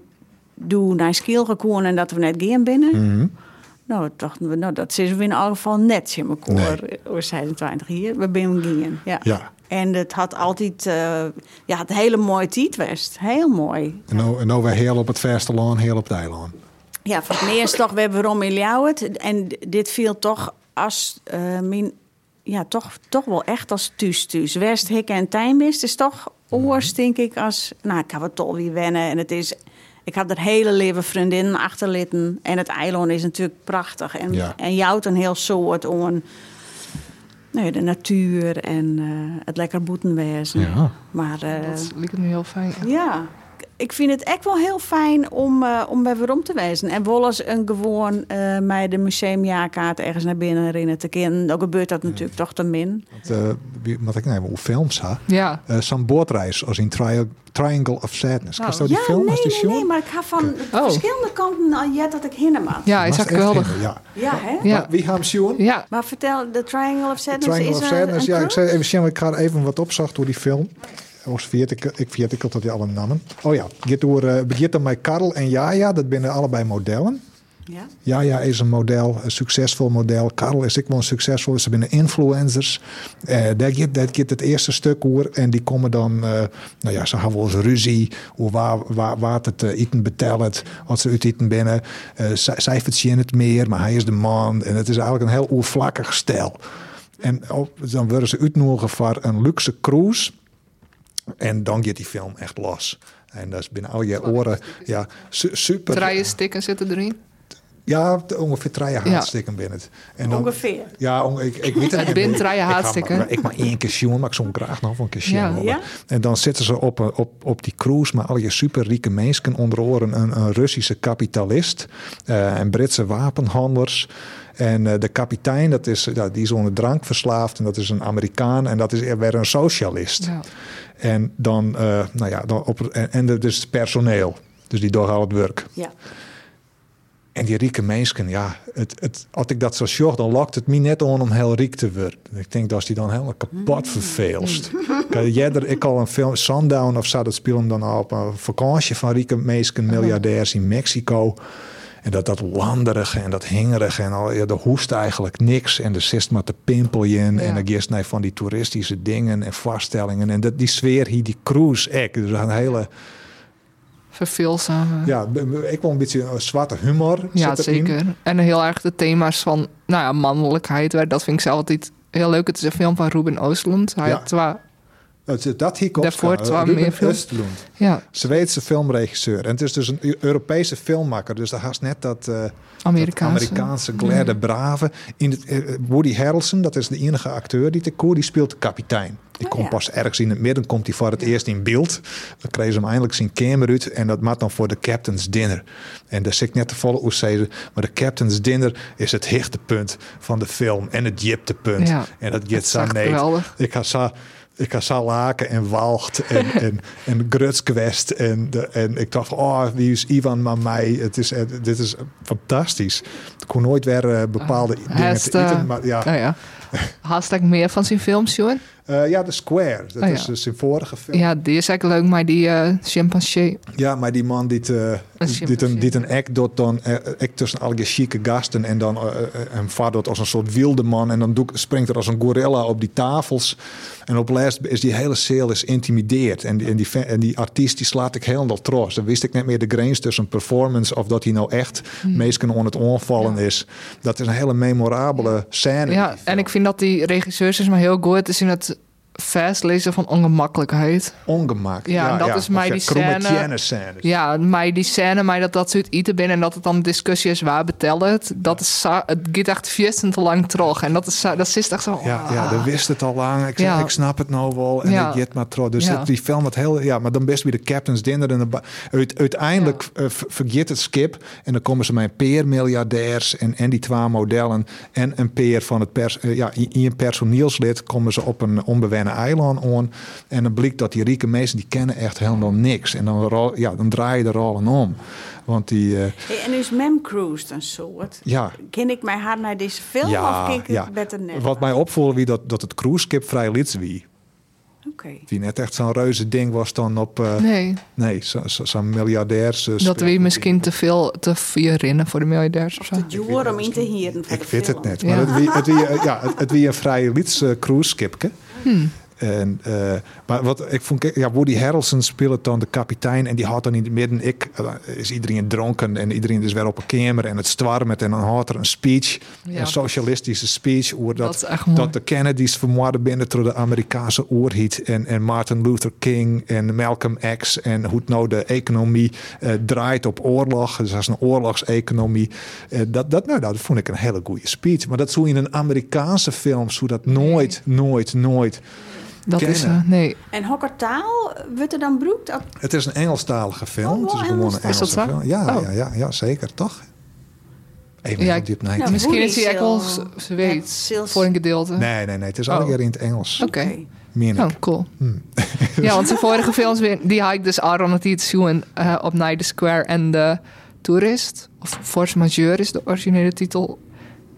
[SPEAKER 4] doen naar Skiel gekomen en dat we net geen binnen. Nou, toen dachten we, nou, dat is we in elk geval net in mijn koor. We zijn 20 hier, we ben gingen. Ja.
[SPEAKER 2] Ja.
[SPEAKER 4] En het had altijd, eh, ja, het hele mooie tijd west. Heel mooi.
[SPEAKER 2] en nou, en nou weer heel op het vasteland, heel op het eiland.
[SPEAKER 4] Ja, voor het eerst toch, we hebben Rom in Ljouwert. En dit viel toch als, eh, mijn, ja, toch, toch wel echt als thuis thuis. West, Hikke en Tijnbist is toch oors, denk ik, als... Nou, ik heb het toch weer wennen. En het is... Ik had er hele leven vriendinnen achterlitten. En het eiland is natuurlijk prachtig. En,
[SPEAKER 2] Ja.
[SPEAKER 4] en jouwt een heel soort om nou ja, de natuur en eh, het lekker boetenwezen.
[SPEAKER 2] Ja.
[SPEAKER 4] Maar... eh,
[SPEAKER 3] Dat lijkt me heel fijn.
[SPEAKER 4] ja, ik vind het echt wel heel fijn om, eh, om bij Weerom te wezen. En Wollers een gewoon eh mij de museumjaarkaart ergens naar binnen rennen te kennen. Dan gebeurt dat natuurlijk toch te min.
[SPEAKER 2] Want, eh, wie- wat ik neem, hoe films ha?
[SPEAKER 3] Ja.
[SPEAKER 2] Eh Zo'n bootreis als in Tri- Triangle of Sadness.
[SPEAKER 3] Nou.
[SPEAKER 2] Kan je die
[SPEAKER 4] ja,
[SPEAKER 2] film
[SPEAKER 4] nee,
[SPEAKER 2] als die
[SPEAKER 4] nee,
[SPEAKER 2] show?
[SPEAKER 4] nee, maar ik ga van
[SPEAKER 3] Oh.
[SPEAKER 4] verschillende kanten al jet dat ik hinnen mag.
[SPEAKER 3] Ja, is echt geweldig.
[SPEAKER 2] Ja.
[SPEAKER 4] Ja, hè?
[SPEAKER 3] Ja.
[SPEAKER 2] Maar Wie gaan zien?
[SPEAKER 3] Ja.
[SPEAKER 4] Maar vertel, de Triangle of Sadness
[SPEAKER 2] Triangle
[SPEAKER 4] is
[SPEAKER 2] of
[SPEAKER 4] een-
[SPEAKER 2] Sadness.
[SPEAKER 4] een
[SPEAKER 2] Ja, ik
[SPEAKER 4] cruise?
[SPEAKER 2] zei even zien, want ik ga er even wat opzag door die film. Ons veertikel, ik veertikel dat die alle namen. Oh ja, dit door eh, begint dan met Karel en Jaja. Dat binnen allebei modellen.
[SPEAKER 4] Ja.
[SPEAKER 2] Jaja is een model, een succesvol model. Karel is ik wel een succesvol. Ze binnen influencers. Eh dat gaat- dat gaat het eerste stuk hoor. En die komen dan, eh, nou ja, ze hebben wel eens ruzie. Hoe waar, waar, waar het eh, eten betelt. Als ze uit eten binnen. Eh, zij, zij verdienen het meer, maar hij is de man. En het is eigenlijk een heel oervlakkig stijl. En op- dan worden ze uitnodigen voor een luxe cruise. En dan gaat die film echt los. En dat is binnen al je oren. Ja, su- super.
[SPEAKER 3] Draaien stikken zitten erin.
[SPEAKER 2] Ja, t- ongeveer drie haatstikken binnen het. En dan-
[SPEAKER 4] Ongeveer.
[SPEAKER 2] Ja, on- ik, ik weet
[SPEAKER 3] Het
[SPEAKER 2] niet.
[SPEAKER 3] bent drie
[SPEAKER 2] Ik ga
[SPEAKER 3] haatstikken.
[SPEAKER 2] maar- Ik maar één keer zien, maar ik zou hem graag nog wel een keer zien.
[SPEAKER 3] Ja.
[SPEAKER 2] willen.
[SPEAKER 4] Ja?
[SPEAKER 2] En dan zitten ze op, een- op, op die cruise maar al je superrieke mensen. Onder oren een, een Russische kapitalist eh, en Britse wapenhandels. En eh, de kapitein, dat is, ja, die is onder drank verslaafd. En dat is een Amerikaan en dat is weer een socialist.
[SPEAKER 3] Ja.
[SPEAKER 2] En dan, eh, nou ja, dan op, en, en dat is personeel. Dus die doen al het werk.
[SPEAKER 4] Ja.
[SPEAKER 2] En die rieke mensen, ja, het, het, als ik dat zo zocht, dan lokt het me net aan om heel riek te worden. Ik denk dat is die dan helemaal
[SPEAKER 3] Mm.
[SPEAKER 2] kapot verveelst. Kijk, Jeder, ik al een film, Sundown of zo, dat speel hem dan al op een vakantie van rieke mensen, miljardairs in Mexico. En dat, dat landerige en dat hingerige en al, ja, de hoest eigenlijk niks. En de zist maar te pimpeljen
[SPEAKER 3] Ja.
[SPEAKER 2] en de gist naar van die toeristische dingen en vaststellingen. En dat, die sfeer hier, die cruise act, dus een hele...
[SPEAKER 3] Verveelzaam.
[SPEAKER 2] Ja, b- b- ik wil een beetje een zwarte humor
[SPEAKER 3] Ja,
[SPEAKER 2] zit erin.
[SPEAKER 3] zeker. En heel erg de thema's van nou ja, mannelijkheid. waar- Dat vind ik zelf altijd heel leuk. Het is een film van Ruben Oostlund. Hij
[SPEAKER 2] Ja.
[SPEAKER 3] had wel-
[SPEAKER 2] Het, dat hier komt
[SPEAKER 3] Daarvoor
[SPEAKER 2] van, eh,
[SPEAKER 3] twaalf
[SPEAKER 2] Ruben
[SPEAKER 3] meer films.
[SPEAKER 2] Östlund,
[SPEAKER 3] ja,
[SPEAKER 2] Zweedse filmregisseur. En het is dus een Eu- Europese filmmaker. Dus daar haast net dat, eh, dat
[SPEAKER 3] Amerikaanse.
[SPEAKER 2] Amerikaanse gladde brave. In het, eh, Woody Harrelson, dat is de enige acteur die te koer, die speelt de kapitein. Die
[SPEAKER 4] Oh,
[SPEAKER 2] komt
[SPEAKER 4] ja.
[SPEAKER 2] pas ergens in het midden, komt hij voor het eerst in beeld. Dan kreeg ze hem eindelijk zijn kamer uit en dat maakt dan voor de captain's dinner. En daar zit ik net te volle oezeden, maar de captain's dinner is het hichtepunt van de film en het jiptepunt.
[SPEAKER 3] Ja.
[SPEAKER 2] En dat
[SPEAKER 3] Het
[SPEAKER 2] get
[SPEAKER 3] is
[SPEAKER 2] zo
[SPEAKER 3] echt
[SPEAKER 2] nee.
[SPEAKER 3] geweldig.
[SPEAKER 2] Ik ga zo, ik ga zo laken en walgt en, en, en grutskwest. En, de- en ik dacht, van, oh, wie is Ivan maar mij? Het is, eh, dit is fantastisch. Ik kon nooit weer eh, bepaalde
[SPEAKER 3] Hij
[SPEAKER 2] dingen
[SPEAKER 3] is
[SPEAKER 2] te
[SPEAKER 3] de-
[SPEAKER 2] eten. Maar ja,
[SPEAKER 3] Nou ja. Hashtag meer van zijn films, Johan.
[SPEAKER 2] Eh, ja, The Square. Dat
[SPEAKER 3] Oh,
[SPEAKER 2] is
[SPEAKER 3] ja.
[SPEAKER 2] dus zijn vorige film. Ja.
[SPEAKER 3] Ja, die is eigenlijk leuk, maar die eh chimpansee.
[SPEAKER 2] maar die man die, te,
[SPEAKER 3] Een
[SPEAKER 2] die, een,
[SPEAKER 3] chimpansee.
[SPEAKER 2] die een act doet dan... eh, act tussen al die chique gasten en dan eh, eh, hem vaart als een soort wilde man. En dan doek- springt er als een gorilla op die tafels. En op laatst is die hele cel is intimideerd. En die, en die, fan- en die artiest die slaat ik helemaal trots. Dan wist ik net meer de grens tussen performance... of dat hij nou echt
[SPEAKER 3] Hmm.
[SPEAKER 2] meestal aan het onvallen is. Dat is een hele memorabele scène.
[SPEAKER 3] Ja, en ik vind dat die regisseurs is maar heel goed is in het vers lezen van ongemakkelijkheid.
[SPEAKER 2] Ongemaakt.
[SPEAKER 3] Ja, en dat is mij die scène-
[SPEAKER 2] scène.
[SPEAKER 3] Ja, maar die scène, maar dat dat soort eten binnen en dat het dan discussie is waar betelt het. Dat is zo- het gaat echt vierstend te lang terug. En dat is, zo- dat is echt zo.
[SPEAKER 2] Ja, ja, dat wist het al lang. Ik,
[SPEAKER 3] Ah. Ja.
[SPEAKER 2] ik snap het nou wel. En
[SPEAKER 3] Ja.
[SPEAKER 2] ik jet maar trouw. Dus
[SPEAKER 3] Ja.
[SPEAKER 2] dat- die film het heel... Ja, maar dan best weer de captain's dinner. En de ba- uit, uiteindelijk eh, ver- vergeet het skip. En dan komen ze met een peer miljardairs en, en die twee modellen. En een peer van het pers, eh, ja, i- i- een personeelslid komen ze op een onbewennen eiland aan. En dan blijkt dat die rieke mensen, die kennen echt helemaal niks. En dan, ro- ja, dan draai je de rollen om. Want die... eh,
[SPEAKER 4] Hey, en is Mem Cruise een soort?
[SPEAKER 2] ja,
[SPEAKER 4] Ken ik mij hard naar deze film of ken ik het beter net?
[SPEAKER 2] Wat mij opviel, wie dat, dat het cruise skip vrij lids wie.
[SPEAKER 4] Oké.
[SPEAKER 2] Die net echt zo'n reuze ding was dan op... eh, nee,
[SPEAKER 3] Nee,
[SPEAKER 2] zo- zo- zo'n miljardairs... eh,
[SPEAKER 3] dat
[SPEAKER 2] speel-
[SPEAKER 3] we misschien te veel te vier rinnen voor de miljardairs of zo.
[SPEAKER 4] De Joer om in te hieren van
[SPEAKER 2] Ik
[SPEAKER 4] de
[SPEAKER 2] weet het
[SPEAKER 4] film.
[SPEAKER 2] net.
[SPEAKER 3] Ja.
[SPEAKER 2] Maar het wie, het wie, eh, ja, het, het wie een vrij lids eh, cruise skipke.
[SPEAKER 3] Hmm.
[SPEAKER 2] En, eh, maar wat ik vond, ja, Woody Harrelson speelt dan de kapitein en die houdt dan in het midden. Ik eh, is iedereen dronken en iedereen is weer op een kamer en het met en dan houdt er een speech,
[SPEAKER 3] Ja.
[SPEAKER 2] een socialistische speech over dat,
[SPEAKER 3] Dat is echt mooi.
[SPEAKER 2] dat de Kennedys vermoorden binnen door de Amerikaanse oorhit en, en Martin Luther King en Malcolm X en hoe het nou de economie eh, draait op oorlog, dus dat is een oorlogseconomie. Eh, dat, dat, nou, dat vond ik een hele goede speech, maar dat zou in een Amerikaanse film zou dat nooit, nooit, nooit.
[SPEAKER 3] Dat is
[SPEAKER 2] kennen.
[SPEAKER 3] eh, nee.
[SPEAKER 4] En hokkertaal eh, wordt er dan broekt? Dat-
[SPEAKER 2] Het is een Engelstalige film.
[SPEAKER 4] Oh,
[SPEAKER 2] het is
[SPEAKER 4] wel
[SPEAKER 2] gewoon een
[SPEAKER 4] Engels-
[SPEAKER 3] is dat
[SPEAKER 2] Engelse
[SPEAKER 3] zo?
[SPEAKER 2] film. Ja,
[SPEAKER 3] Oh.
[SPEAKER 2] ja, ja, ja, zeker, toch? Even
[SPEAKER 3] Ja,
[SPEAKER 2] op diep nee.
[SPEAKER 4] Nou,
[SPEAKER 3] Misschien is hij
[SPEAKER 4] Woody
[SPEAKER 3] echt wel
[SPEAKER 4] is heel-
[SPEAKER 3] Z- Zweeds
[SPEAKER 4] Ja, Zeels-
[SPEAKER 3] voor een gedeelte.
[SPEAKER 2] nee, nee, nee. Het is
[SPEAKER 3] Oh.
[SPEAKER 2] alweer in het Engels.
[SPEAKER 3] Oké.
[SPEAKER 2] Meen ik.
[SPEAKER 3] Oh, cool.
[SPEAKER 2] Hmm.
[SPEAKER 3] ja, want zijn vorige films, weer- die had ik dus al aan het iets zien eh, op Night Square en de Tourist. Of Force Majeure is de originele titel.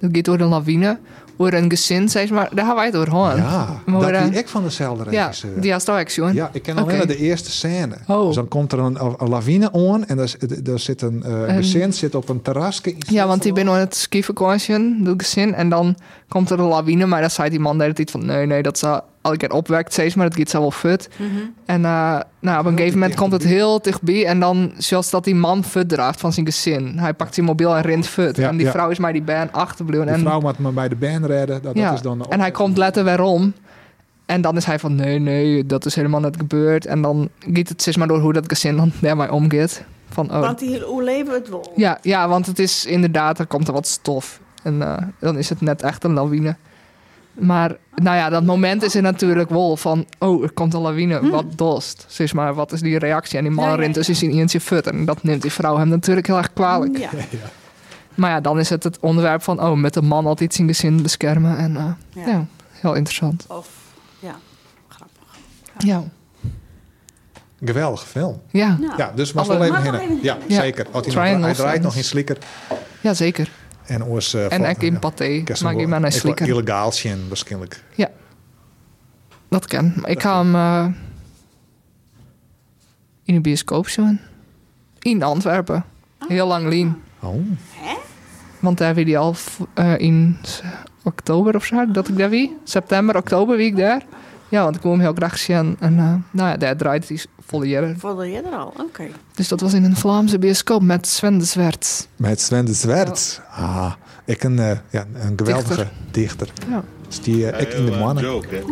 [SPEAKER 3] Dat gaat door de lawine. Over een gezin, zeg maar. Daar gaan wij het over horen.
[SPEAKER 2] Ja,
[SPEAKER 3] Maar,
[SPEAKER 2] dat
[SPEAKER 3] eh,
[SPEAKER 2] die ik van dezelfde
[SPEAKER 3] ja,
[SPEAKER 2] regisseur.
[SPEAKER 3] die had het ook zien.
[SPEAKER 2] eh. Ja, ik ken alleen
[SPEAKER 3] Oké.
[SPEAKER 2] maar de eerste scène.
[SPEAKER 3] Oh.
[SPEAKER 2] Dus dan komt er een, een lawine aan en daar, zit- daar zit een eh
[SPEAKER 3] Een-
[SPEAKER 2] gezin zit op een terrasje. in
[SPEAKER 3] Ja, want die ben
[SPEAKER 2] Zwitserland.
[SPEAKER 3] op het skivakantie, dat gezin. En dan komt er een lawine, maar dan zei die man de hele tijd van... nee, nee, dat ze elke keer opwekt steeds, maar dat gaat zo wel fut. En eh, nou, op een gegeven moment komt het heel dichtbij... en dan zoals dat die man fut draagt van zijn gezin. Hij pakt zijn mobiel en rent fut.
[SPEAKER 2] Ja,
[SPEAKER 3] en die
[SPEAKER 2] ja.
[SPEAKER 3] vrouw is maar die band achterbleven.
[SPEAKER 2] Die
[SPEAKER 3] En,
[SPEAKER 2] vrouw moet me bij de band redden. Dat,
[SPEAKER 3] ja,
[SPEAKER 2] dat is dan de
[SPEAKER 3] en hij
[SPEAKER 2] opdracht.
[SPEAKER 3] komt letter weer om. En dan is hij van, nee, nee, dat is helemaal net gebeurd. En dan gaat het steeds maar door hoe dat gezin dan daarmee omgaat. Van, oh,
[SPEAKER 4] Want die, hoe leven we het wel?
[SPEAKER 3] ja, ja, want het is inderdaad, er komt er wat stof. En eh, dan is het net echt een lawine. Maar nou ja, dat moment is er natuurlijk wel van... oh, er komt een lawine, wat dost. Zeg maar, wat is die reactie? En die man
[SPEAKER 4] Hm. Ja, ja,
[SPEAKER 3] rent dus
[SPEAKER 4] ja.
[SPEAKER 3] is in eentje fut. En dat neemt die vrouw hem natuurlijk heel erg kwalijk.
[SPEAKER 4] Ja.
[SPEAKER 3] Maar ja, dan is het het onderwerp van... oh, met de man altijd zijn gezin beschermen. En eh,
[SPEAKER 4] Ja.
[SPEAKER 3] ja, heel interessant.
[SPEAKER 4] Of, ja, grappig.
[SPEAKER 3] Ja,
[SPEAKER 2] Geweldig film.
[SPEAKER 3] ja.
[SPEAKER 4] Nou,
[SPEAKER 2] Ja, dus was
[SPEAKER 3] Alle-
[SPEAKER 2] wel even
[SPEAKER 4] Mag nog
[SPEAKER 2] hinnen.
[SPEAKER 4] even
[SPEAKER 2] Ja,
[SPEAKER 3] Ja.
[SPEAKER 2] zeker. Had hij, nog,
[SPEAKER 3] Triangle
[SPEAKER 2] hij draait
[SPEAKER 3] Friends.
[SPEAKER 2] nog in slikker.
[SPEAKER 3] ja zeker.
[SPEAKER 2] En oors, eh,
[SPEAKER 3] En
[SPEAKER 2] valt-
[SPEAKER 3] ik in
[SPEAKER 2] ja.
[SPEAKER 3] paté,
[SPEAKER 2] Kerst-
[SPEAKER 3] maar ik ben naar
[SPEAKER 2] ik wou
[SPEAKER 3] slikker.
[SPEAKER 2] Illegaal zien waarschijnlijk.
[SPEAKER 3] Dat ken. Maar Ik ga hem eh, in de bioscoop zien. In Antwerpen. Heel lang lien.
[SPEAKER 2] Oh.
[SPEAKER 3] Want daar wie die al v- eh, in s- oktober of zo, dat ik daar wie. September, oktober wie ik daar. Ja, want ik wil hem heel graag zien. En eh, nou ja, daar draait hij volle jaren.
[SPEAKER 4] Voelde je er al? Oké.
[SPEAKER 3] Dus dat was in een Vlaamse bioscoop met Sven de Zwerts.
[SPEAKER 2] Met Sven de Zwert. Ah, ik een, eh, ja, een geweldige dichter.
[SPEAKER 3] Ja.
[SPEAKER 2] Dus die eh, ik in de
[SPEAKER 6] Hey, one
[SPEAKER 2] mannen.
[SPEAKER 6] Joke, eh?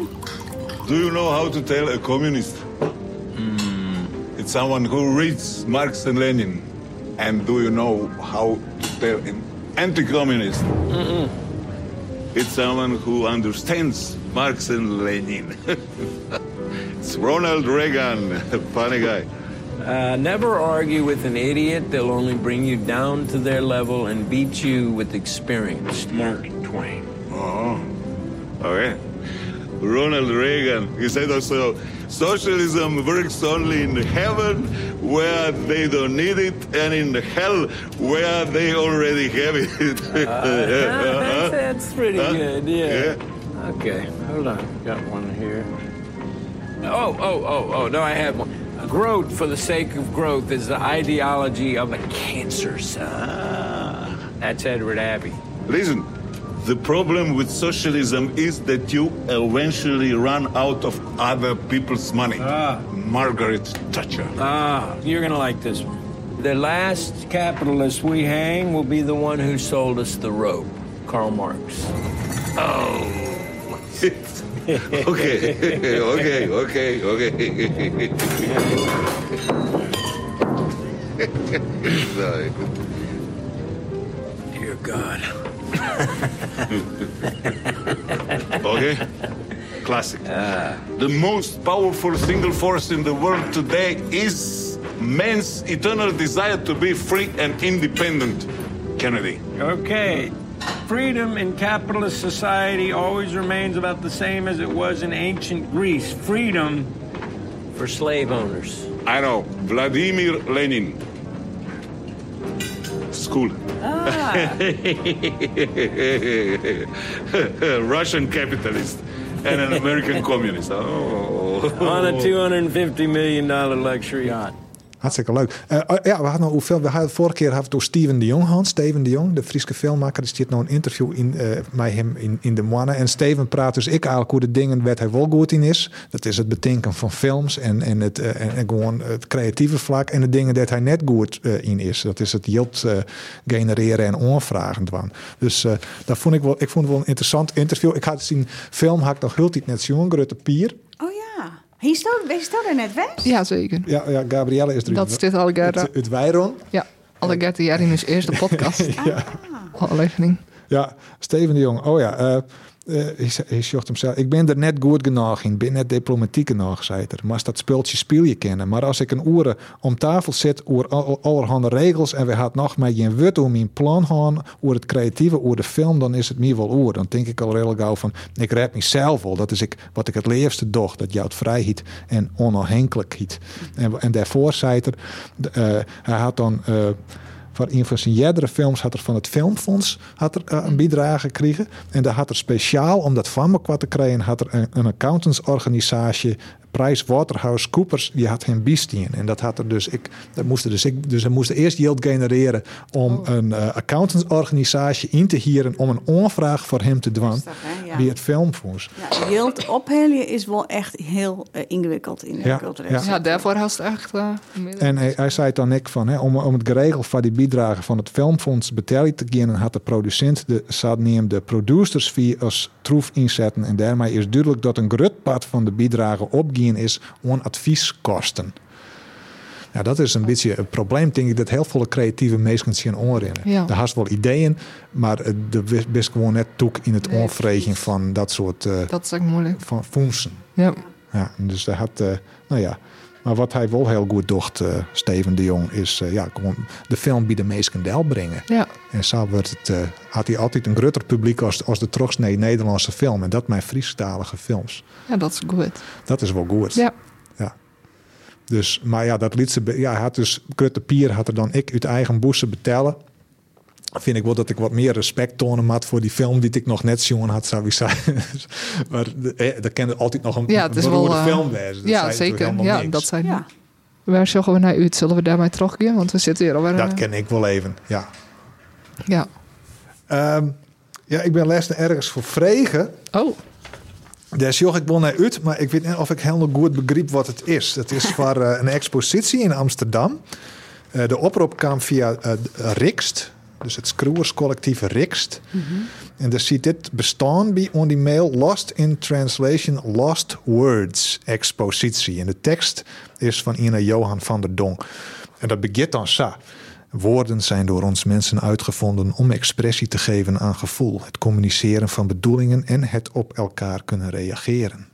[SPEAKER 6] Do you know how to tell a communist? Hmm. It's someone who reads Marx and Lenin. And do you know how to tell an anti-communist? It's someone who understands Marx and Lenin. it's Ronald Reagan, funny guy.
[SPEAKER 7] Uh, never argue with an idiot. They'll only bring you down to their level and beat you with experience. Mark Twain.
[SPEAKER 6] Oh, okay. Ronald Reagan, he said also, socialism works only in heaven where they don't need it and in hell where they already have it.
[SPEAKER 7] Uh, Ah, that's, that's pretty
[SPEAKER 6] Huh?
[SPEAKER 7] good, yeah.
[SPEAKER 6] Yeah.
[SPEAKER 7] Okay, hold on. Got one here. Oh, oh, oh, oh, no, I have one. Growth for the sake of growth is the ideology of a cancer cell. That's Edward Abbey.
[SPEAKER 6] Listen, the problem with socialism is that you eventually run out of other people's money. Margaret Thatcher.
[SPEAKER 7] Ah, you're gonna like this one. The last capitalist we hang will be the one who sold us the rope, Karl Marx.
[SPEAKER 6] okay, okay, okay, okay. Sorry.
[SPEAKER 7] Dear God.
[SPEAKER 6] Okay? Classic. The most powerful single force in the world today is man's eternal desire to be free and independent. Kennedy.
[SPEAKER 7] Okay. Freedom in capitalist society always remains about the same as it was in ancient Greece. Freedom for slave owners.
[SPEAKER 6] I know. Vladimir Lenin. School. Russian capitalist and an American communist. Oh.
[SPEAKER 7] On a $250 million luxury yacht.
[SPEAKER 2] Hartstikke leuk. Eh, oh, ja, we hadden nog hoeveel. We hadden vorige keer hadden we door Steven de Jong gehad. Steven de Jong, de Friese filmmaker, die zit nou een interview in, eh, met hem in, in de Moanne. En Steven praat dus ik eigenlijk hoe de dingen waar hij wel goed in is. Dat is het bedenken van films en, en, het, eh, en, en gewoon het creatieve vlak. En de dingen dat hij net goed eh, in is. Dat is het yield eh, genereren en onvragen dwan. Dus eh dat vond ik wel, ik vond het wel een interessant interview. Ik had zien film had ik nog heel net zien, Grutte Pier.
[SPEAKER 4] Oh ja. Hij stond, hij stond er net weg.
[SPEAKER 3] Ja, zeker.
[SPEAKER 2] Ja, ja, Gabrielle is er.
[SPEAKER 3] Dat is dit Algerda.
[SPEAKER 2] het, het Weiron.
[SPEAKER 3] Ja, Algerda Jarinus eerste podcast.
[SPEAKER 2] Ja.
[SPEAKER 3] Aflevering.
[SPEAKER 2] Ja, Steven de Jong. Oh ja, eh eh, hij zei- hij zocht hem zelf. Ik ben er net goed genoeg in. Ik ben net diplomatiek genoeg, zei hij. Maar als dat speeltje speel je kennen. Maar als ik een oren om tafel zit over al- allerhande regels... en we had nog maar geen woord om mijn plan gaan... over het creatieve, over de film, dan is het meer wel oor. Dan denk ik al redelijk gauw van... ik red mezelf wel. Dat is ik, wat ik het liefste doch. Dat jouw vrijheid en onafhankelijkheid. En, en daarvoor zei hij... er, eh, hij had dan... eh, van een van zijn jerdere films had er van het Filmfonds had er, eh, een bijdrage gekregen. En daar had er speciaal, om dat van me kwart te krijgen, had er een, een accountantsorganisatie, PricewaterhouseCoopers, die had hem bistien. En dat had er dus, ik, dat moest er dus, ik, dus hij moest eerst yield genereren om een eh, accountantsorganisatie in te hieren om een onvraag voor hem te dwan
[SPEAKER 4] Lastig, hè? Ja.
[SPEAKER 2] bij het Filmfonds.
[SPEAKER 4] Ja, Yield ophellen is wel echt heel eh, ingewikkeld in de
[SPEAKER 2] Ja,
[SPEAKER 4] culturele
[SPEAKER 2] ja.
[SPEAKER 3] Ja, daarvoor had het echt... eh, minder-
[SPEAKER 2] En hij, hij zei het dan ik van, hè, om, om het geregel van die bijdrage van het filmfonds betaald te gaan, had de producent de zadneem de producers via als troef inzetten. En daarmee is duidelijk dat een grut pad van de bijdrage opgaan is aan advieskosten. Ja, dat is een beetje een probleem, denk ik, dat heel veel creatieve mensen zien onrennen.
[SPEAKER 3] Ja.
[SPEAKER 2] Daar had wel ideeën, maar eh, er wist- wist gewoon net toek in het
[SPEAKER 3] Nee,
[SPEAKER 2] onvregen van dat soort eh
[SPEAKER 3] Dat is echt moeilijk.
[SPEAKER 2] van functies.
[SPEAKER 3] Ja.
[SPEAKER 2] Ja, en dus daar had, eh, nou ja. Maar wat hij wel heel goed docht, eh, Steven de Jong, is eh, ja, gewoon de film bij de meesten deel brengen.
[SPEAKER 3] Ja.
[SPEAKER 2] En zo werd het, eh, had hij altijd een groter publiek als, als de trotsnee Nederlandse film. En dat mijn Friestalige films.
[SPEAKER 3] ja, dat is
[SPEAKER 2] Dus
[SPEAKER 3] goed.
[SPEAKER 2] Dat is wel goed.
[SPEAKER 3] Ja.
[SPEAKER 2] Dus, maar ja, dat liet ze. be- Ja, hij had dus Krutte Pier had er dan ik uit eigen boezem betalen. Vind ik wel dat ik wat meer respect tonen had voor die film die ik nog net zien had, zou ik zeggen. maar de- eh, dat kende altijd nog een,
[SPEAKER 3] Ja, het is
[SPEAKER 2] een beroerde
[SPEAKER 3] wel, eh,
[SPEAKER 2] film wezen. Dat zei
[SPEAKER 3] ja,
[SPEAKER 2] natuurlijk
[SPEAKER 3] zeker.
[SPEAKER 2] helemaal
[SPEAKER 3] Ja,
[SPEAKER 2] niks.
[SPEAKER 3] dat zijn.
[SPEAKER 4] Ja.
[SPEAKER 3] Waar zullen we naar uit? Zullen we daarmee teruggaan? Want we zitten hier alweer.
[SPEAKER 2] Dat
[SPEAKER 3] eh,
[SPEAKER 2] ken ik wel even, ja.
[SPEAKER 3] Ja.
[SPEAKER 2] Ehm, ja, ik ben les ergens voor vregen.
[SPEAKER 3] Oh,
[SPEAKER 2] Daar zocht ik wel naar uit, maar ik weet niet of ik helemaal goed begreep wat het is. Het is voor eh, een expositie in Amsterdam. Eh, de oproep kwam via eh, Rikst, dus het schroewerscollectief Rikst. En daar ziet dit bestaan bij on die mail Lost in Translation Lost Words expositie. En de tekst is van Ina Johan van der Dong. En dat begint dan zo. Woorden zijn door ons mensen uitgevonden om expressie te geven aan gevoel, het communiceren van bedoelingen en het op elkaar kunnen reageren.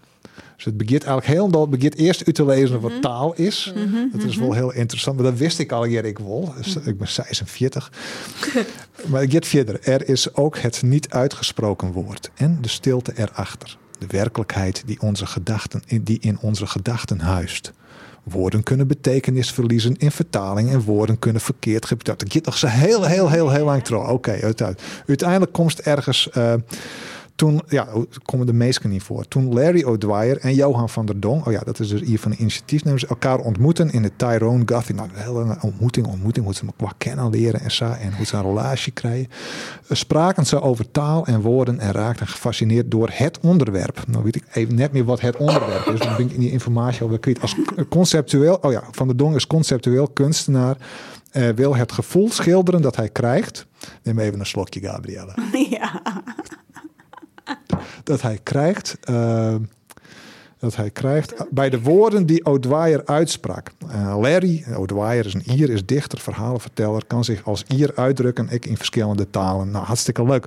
[SPEAKER 2] Dus het begint eigenlijk heel dat begint eerst uit te lezen wat taal is. Dat is wel heel interessant, maar dat wist ik al hier ik wel. Dus ik ben 46. Maar ik get verder. Er is ook het niet uitgesproken woord en de stilte erachter. De werkelijkheid die, onze gedachten, die in onze gedachten huist. Woorden kunnen betekenis verliezen in vertaling en woorden kunnen verkeerd gebruikt. Dat gaat nog zo heel, heel, heel, heel lang trouw. Oké, uiteindelijk. Uiteindelijk komt het ergens. eh, toen, ja, komen de meesten niet voor. Toen Larry O'Dwyer en Johan van der Dong, oh ja, dat is dus hier van de initiatiefnemers, elkaar ontmoeten in de Tyrone Guffey. Nou, wel een ontmoeting, ontmoeting, hoe ze elkaar kennen leren en zo, en hoe ze een relatie krijgen. Eh, Spraken ze over taal en woorden en raakten gefascineerd door het onderwerp. Nou weet ik even net meer wat het onderwerp is, dan ben ik in die informatie alweer kwijt. Als conceptueel, oh ja, Van der Dong is conceptueel kunstenaar, eh, wil het gevoel schilderen dat hij krijgt. Neem even een slokje, Gabriella
[SPEAKER 4] ja.
[SPEAKER 2] dat hij krijgt. eh, dat hij krijgt eh, bij de woorden die O'Dwyer uitsprak. Eh, Larry, O'Dwyer is een Ier, is dichter, verhalenverteller, kan zich als Ier uitdrukken, ik in verschillende talen. Nou, hartstikke leuk.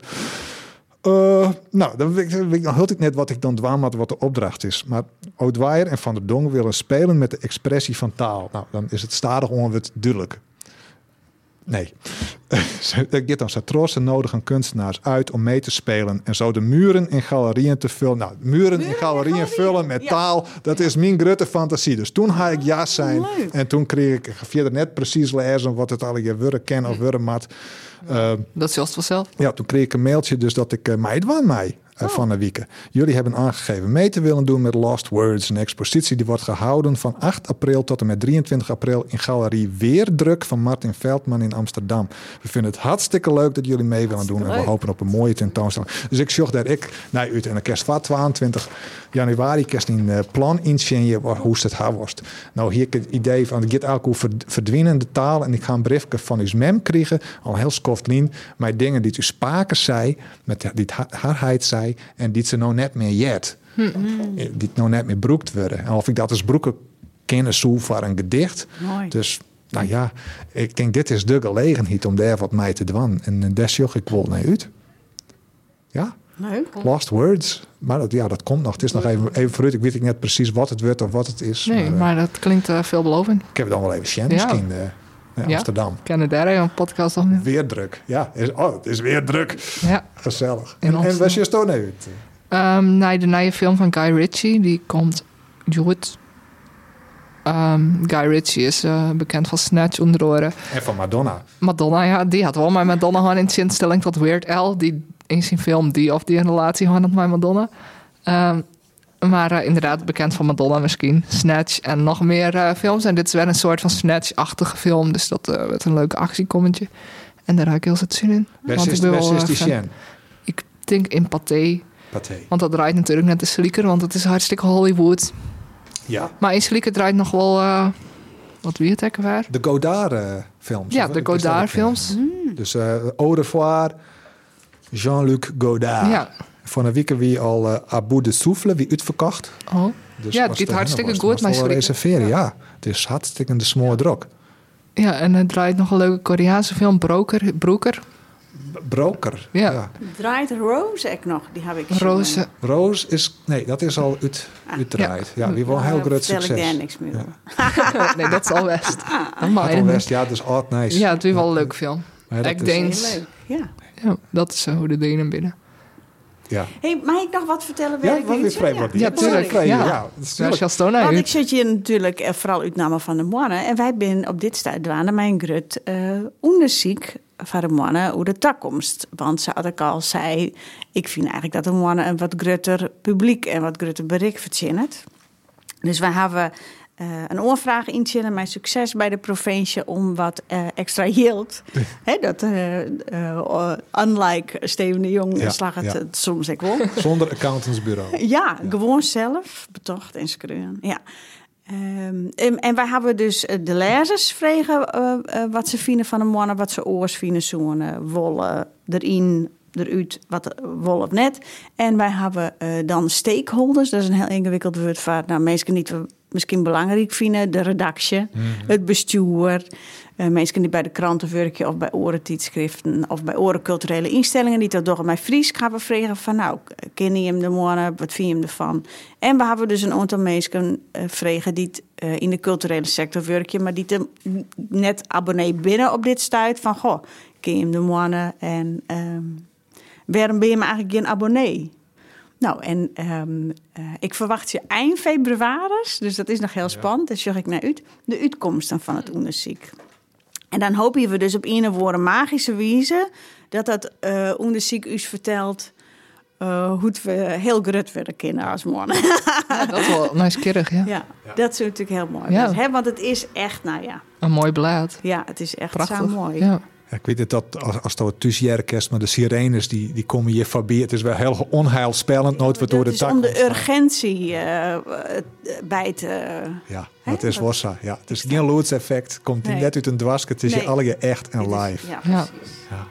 [SPEAKER 2] Eh, nou, dan, weet ik- weet ik- dan hult ik net wat ik dan dwaan had, wat de opdracht is. Maar O'Dwyer en Van der Dong willen spelen met de expressie van taal. Nou, dan is het stadig onwit duidelijk. Nee. Eh, Dat gaat dan Satrossen nodigen kunstenaars uit om mee te spelen. En zo de muren en galerieën te vullen. Nou, muren en galerieën vullen met
[SPEAKER 4] ja.
[SPEAKER 2] taal. Dat is mijn grote fantasie. Dus toen had ik ja zijn.
[SPEAKER 4] Leuk.
[SPEAKER 2] En toen kreeg ik verder net precies lezen wat het al je worden ken of Eh, worden mat.
[SPEAKER 3] dat is juist vanzelf.
[SPEAKER 2] Ja, toen kreeg ik een mailtje dus dat ik eh meid van mij eh, van de week. Jullie hebben aangegeven mee te willen doen met Lost Words. Een expositie die wordt gehouden van 8 april tot en met 23 april in Galerie Weerdruk van Martin Veldman in Amsterdam. We vinden het hartstikke leuk dat jullie mee willen doen. En we hopen op een mooie tentoonstelling. Dus ik zocht dat ik naar uit en dan kerst van 22 januari kerst in eh, plan inzien hoe het haar worst. Nou, hier het idee van dit alcohol verd- verdwijnende taal en ik ga een briefje van uw mem krijgen, al heel skoftlien, maar dingen die u spaken zei, met die het ha- haarheid zei en die ze nou net meer jet, Eh, die nou net meer broekt worden. En of ik dat als broeken kennis hoe voor een gedicht.
[SPEAKER 4] Mooi.
[SPEAKER 2] Dus nou ja, ik denk dit is de gelegenheid om daar wat mee te doen. En eh, daar zocht ik wel naar uit. Ja.
[SPEAKER 4] Leuk.
[SPEAKER 2] Lost Words. Maar dat, ja, dat komt nog. Het is nog even, even vooruit. Ik weet niet net precies wat het wordt of wat het is.
[SPEAKER 3] Nee,
[SPEAKER 2] maar, eh,
[SPEAKER 3] maar dat klinkt eh, veelbelovend.
[SPEAKER 2] Ik heb het dan wel even zien.
[SPEAKER 3] Ja.
[SPEAKER 2] Misschien eh, naar
[SPEAKER 3] Ja.
[SPEAKER 2] Amsterdam.
[SPEAKER 3] Kennen daar een podcast of niet?
[SPEAKER 2] Weer druk. Ja, is, oh, het is weer druk.
[SPEAKER 3] Ja.
[SPEAKER 2] Gezellig. En,
[SPEAKER 3] In
[SPEAKER 2] en
[SPEAKER 3] Amsterdam.
[SPEAKER 2] was je stoon uit?
[SPEAKER 3] Ehm, nee, de nieuwe film van Guy Ritchie, die komt goed. Ehm, Guy Ritchie is eh, bekend van Snatch onder andere.
[SPEAKER 2] En van Madonna.
[SPEAKER 3] Madonna, ja, die had wel maar Madonna gewoon in zinstelling tot Weird Al. Die in zijn film die of die een relatie had met Madonna. Ehm, maar eh, inderdaad, bekend van Madonna misschien. Snatch en nog meer eh, films. En dit is weer een soort van Snatch-achtige film. Dus dat eh, werd een leuk actiecommetje. En daar raak ik heel zin in.
[SPEAKER 2] Best is,
[SPEAKER 3] ik ben
[SPEAKER 2] best
[SPEAKER 3] wel,
[SPEAKER 2] is
[SPEAKER 3] eh,
[SPEAKER 2] die
[SPEAKER 3] fan.
[SPEAKER 2] Shen.
[SPEAKER 3] Ik denk in Pathé.
[SPEAKER 2] Pathé.
[SPEAKER 3] Want dat draait natuurlijk net de slieker. Want het is hartstikke Hollywood.
[SPEAKER 2] Ja.
[SPEAKER 3] Maar in slieker draait nog wel... eh, wat wie het hekken waar?
[SPEAKER 2] De Godard eh, films.
[SPEAKER 3] Ja,
[SPEAKER 2] of-
[SPEAKER 3] de
[SPEAKER 2] is dat Hmm.
[SPEAKER 3] Godard-films.
[SPEAKER 2] bekend? Dus eh Au revoir, Jean-Luc Godard.
[SPEAKER 3] Ja.
[SPEAKER 2] Van een week wie al eh, Abu de Souffle, wie uitverkocht.
[SPEAKER 3] Oh.
[SPEAKER 2] Dus
[SPEAKER 3] ja, het
[SPEAKER 2] als
[SPEAKER 3] gaat
[SPEAKER 2] er
[SPEAKER 3] hartstikke
[SPEAKER 2] heen
[SPEAKER 3] goed,
[SPEAKER 2] was, dan
[SPEAKER 3] maar
[SPEAKER 2] was het wel
[SPEAKER 3] schrikken.
[SPEAKER 2] reserveren, ja. Het is hartstikke de smoor drok.
[SPEAKER 3] Ja, en hij draait nog een leuke Koreaanse film, Broker. Broker.
[SPEAKER 2] Broker.
[SPEAKER 3] Ja.
[SPEAKER 4] Draait Rose ook nog? Die heb ik gezien.
[SPEAKER 3] Roze.
[SPEAKER 2] Roos is, nee, dat is al uit, uitdraaid. Ja, wie wel een heel
[SPEAKER 4] Nou,
[SPEAKER 2] groot
[SPEAKER 4] Ah. vertel ik daar
[SPEAKER 2] succes.
[SPEAKER 4] niks meer over.
[SPEAKER 3] nee, dat is al West. Maar,
[SPEAKER 2] Atom West, ja, dus odd nice.
[SPEAKER 3] Ja, het is wel een leuke film.
[SPEAKER 2] Maar dat
[SPEAKER 3] Ik
[SPEAKER 2] is-
[SPEAKER 3] denk-
[SPEAKER 4] Heel leuk, ja.
[SPEAKER 3] Ja, dat is eh, hoe de Denen binnen.
[SPEAKER 2] Ja,
[SPEAKER 4] Hey, mag ik nog wat vertellen? bij
[SPEAKER 2] ja
[SPEAKER 4] dit
[SPEAKER 2] wat weer
[SPEAKER 4] liedje?
[SPEAKER 2] vrij wat
[SPEAKER 3] Ja,
[SPEAKER 2] die-
[SPEAKER 3] tuurlijk.
[SPEAKER 2] Vrij,
[SPEAKER 3] Ja.
[SPEAKER 2] ja, dat is
[SPEAKER 3] Ja,
[SPEAKER 2] tuurlijk.
[SPEAKER 3] Sjastona,
[SPEAKER 4] Want
[SPEAKER 3] u-
[SPEAKER 4] ik zit hier natuurlijk eh, vooral uitname van de mannen. En wij zijn op dit stuit dwaande mijn grut eh onderziek van de mannen hoe de toekomst. Want ze had ik al zei, ik vind eigenlijk dat de mannen een wat grutter publiek en wat grutter bereik verzinnen. Dus we hebben eh, een oorvraag inzinnen, mijn succes bij de provincie om wat eh, extra yield. Hè, dat, eh, eh, unlike Steven de Jong
[SPEAKER 2] Ja,
[SPEAKER 4] slag het
[SPEAKER 2] ja.
[SPEAKER 4] het soms ik wel.
[SPEAKER 2] Zonder accountantsbureau.
[SPEAKER 4] Ja, gewoon zelf betocht en schreeuwen. Ja. Ehm, en, en wij hebben dus eh, de lezers vragen eh, eh, wat ze vinden van de mannen, wat ze oors vinden, zo'n eh, wollen erin, eruit, wat eh, wol of net. En wij hebben eh, dan stakeholders, dat is een heel ingewikkeld woord voor nou, mensen niet we misschien belangrijk vinden, de redactie, het bestuur, eh, mensen die bij de kranten werken of bij orentijdschriften of bij orenculturele instellingen die dat door mij Fries gaan we vragen van nou, ken je hem de morgen, wat vind je hem ervan? En we hebben dus een aantal mensen eh, vragen die het, eh, in de culturele sector werken, maar die te- net abonnee binnen op dit stuit van goh, ken je hem de morgen en ehm, waarom ben je maar eigenlijk geen abonnee? Nou, en ehm, eh, ik verwacht je eind februari, dus dat is nog heel spannend. Dus zeg ik naar uit, de uitkomsten van het onderzoek. En dan hopen we dus op een of andere magische wijze dat dat eh onderzoek u vertelt eh, hoe het we heel grut willen kunnen als man.
[SPEAKER 3] Ja, dat is wel nieuwsgierig, ja.
[SPEAKER 4] ja, dat zou natuurlijk heel mooi
[SPEAKER 3] Ja.
[SPEAKER 4] zijn, hè? Want het is echt, nou ja,
[SPEAKER 3] Een mooi blad.
[SPEAKER 4] ja het is echt
[SPEAKER 3] Prachtig.
[SPEAKER 4] zo mooi.
[SPEAKER 3] Ja.
[SPEAKER 2] Ja, ik weet niet dat als, als dat het tussenjaarkerst, maar de sirenes die, die komen hier voorbij. Het is wel heel onheilspellend, nooit wat door
[SPEAKER 4] Dat
[SPEAKER 2] de
[SPEAKER 4] is
[SPEAKER 2] tak.
[SPEAKER 4] om de
[SPEAKER 2] ontstaan.
[SPEAKER 4] urgentie eh, eh, bij te...
[SPEAKER 2] Ja,
[SPEAKER 4] Hè?
[SPEAKER 2] dat is
[SPEAKER 4] Dat-
[SPEAKER 2] Wassa. Ja, het is geen loodseffect. Komt die
[SPEAKER 4] Nee.
[SPEAKER 2] net uit een dwaske. Het is
[SPEAKER 4] Nee.
[SPEAKER 2] je alle je echt en live.
[SPEAKER 4] Ja,
[SPEAKER 3] Ja.
[SPEAKER 4] precies.
[SPEAKER 2] Ja.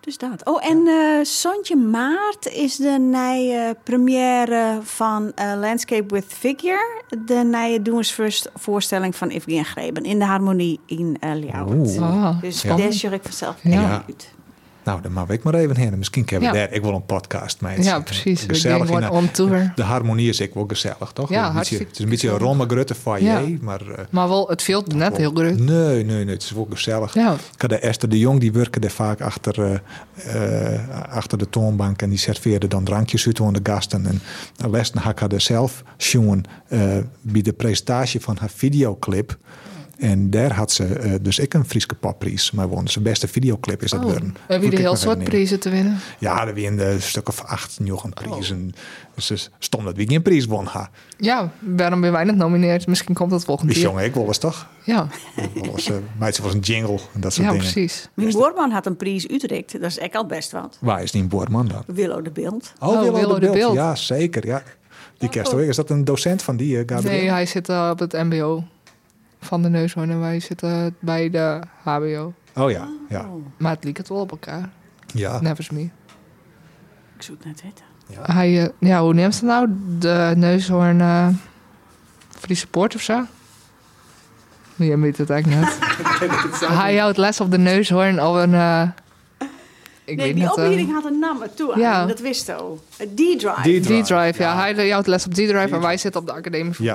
[SPEAKER 4] Dus dat. Oh, en eh Sontje Maart is de nieuwe première van eh, Landscape with Figure. De nieuwe doensvoorst- voorstelling van Evgen Greben in de Harmonie in uh,
[SPEAKER 3] Ah,
[SPEAKER 4] Dus
[SPEAKER 3] spannend.
[SPEAKER 4] daar zorg ik vanzelf
[SPEAKER 3] Ja.
[SPEAKER 4] echt uit.
[SPEAKER 2] Nou, dan maak ik maar even heen. Misschien kunnen we
[SPEAKER 3] Ja.
[SPEAKER 2] daar. Ik wil een podcast mee.
[SPEAKER 3] Ja, precies. We
[SPEAKER 2] Gezellig.
[SPEAKER 3] gaan gewoon
[SPEAKER 2] in-
[SPEAKER 3] on tour.
[SPEAKER 2] De harmonie is ik wel gezellig, toch?
[SPEAKER 3] Ja,
[SPEAKER 2] Een beetje-
[SPEAKER 3] hartstikke
[SPEAKER 2] Het is een beetje een romme grutte foyer,
[SPEAKER 3] Ja.
[SPEAKER 2] maar... eh,
[SPEAKER 3] Maar wel, het viel net heel groot.
[SPEAKER 2] Nee, nee, nee, het is wel gezellig.
[SPEAKER 3] Ja.
[SPEAKER 2] Ik had de Esther de Jong, die werkte daar vaak achter, eh, eh, achter de toonbank en die serveerde dan drankjes uit aan de gasten. En Lesten had haar daar zelf jongen bij de presentatie van haar videoclip. En daar had ze eh, dus ik een Frieske popprijs maar won. Zijn beste videoclip is dat
[SPEAKER 3] Oh,
[SPEAKER 2] worden.
[SPEAKER 3] we hebben
[SPEAKER 2] Vond
[SPEAKER 3] hier
[SPEAKER 2] ik
[SPEAKER 3] heel
[SPEAKER 2] nog
[SPEAKER 3] soort
[SPEAKER 2] herinneren.
[SPEAKER 3] prijzen te winnen.
[SPEAKER 2] Ja, er wien een stuk of acht Jochen
[SPEAKER 3] Oh.
[SPEAKER 2] prijzen. Dus het is stom dat we geen prijs won. Ha.
[SPEAKER 3] Ja, waarom ben wij niet nomineerd? Misschien komt dat volgend
[SPEAKER 2] Die
[SPEAKER 3] jaar.
[SPEAKER 2] jongen, ik wil eens toch?
[SPEAKER 3] Ja,
[SPEAKER 2] Ik wil eens, eh, meisje was een jingle en dat soort
[SPEAKER 3] ja
[SPEAKER 2] dingen.
[SPEAKER 3] precies.
[SPEAKER 4] Mijn boorman had een prijs Utrecht. Dat is echt al best wat.
[SPEAKER 2] Waar is die Boorman dan?
[SPEAKER 4] Willow de Beeld.
[SPEAKER 2] Oh,
[SPEAKER 3] Oh,
[SPEAKER 2] Willow
[SPEAKER 3] Willow
[SPEAKER 2] de
[SPEAKER 3] de
[SPEAKER 2] Beeld.
[SPEAKER 3] Beeld. Oh.
[SPEAKER 2] Ja, zeker. Ja. Die kerst hoor. Is dat een docent van die, eh, Gabriel?
[SPEAKER 3] Nee, hij zit eh, op het MBO van de neushoorn en wij zitten bij de HBO.
[SPEAKER 2] Oh ja, ja.
[SPEAKER 3] Maar het liep het wel op elkaar.
[SPEAKER 2] ja.
[SPEAKER 3] Never is me.
[SPEAKER 4] Ik zoek net weten.
[SPEAKER 3] Hij, eh, ja, hoe neemt ze nou? De neushoorn eh Friese Poort of zo? Je weet het eigenlijk net. hij houdt les op de neushoorn of een... eh, ik
[SPEAKER 4] Nee,
[SPEAKER 3] weet
[SPEAKER 4] die
[SPEAKER 3] niet. eh,
[SPEAKER 4] opleiding had een naam toe. aan.
[SPEAKER 3] Ja.
[SPEAKER 4] Dat wist al. D-Drive.
[SPEAKER 2] D-Drive.
[SPEAKER 3] D-Drive, ja. Hij houdt les op D-Drive en wij zitten op de Academie voor
[SPEAKER 2] Ja.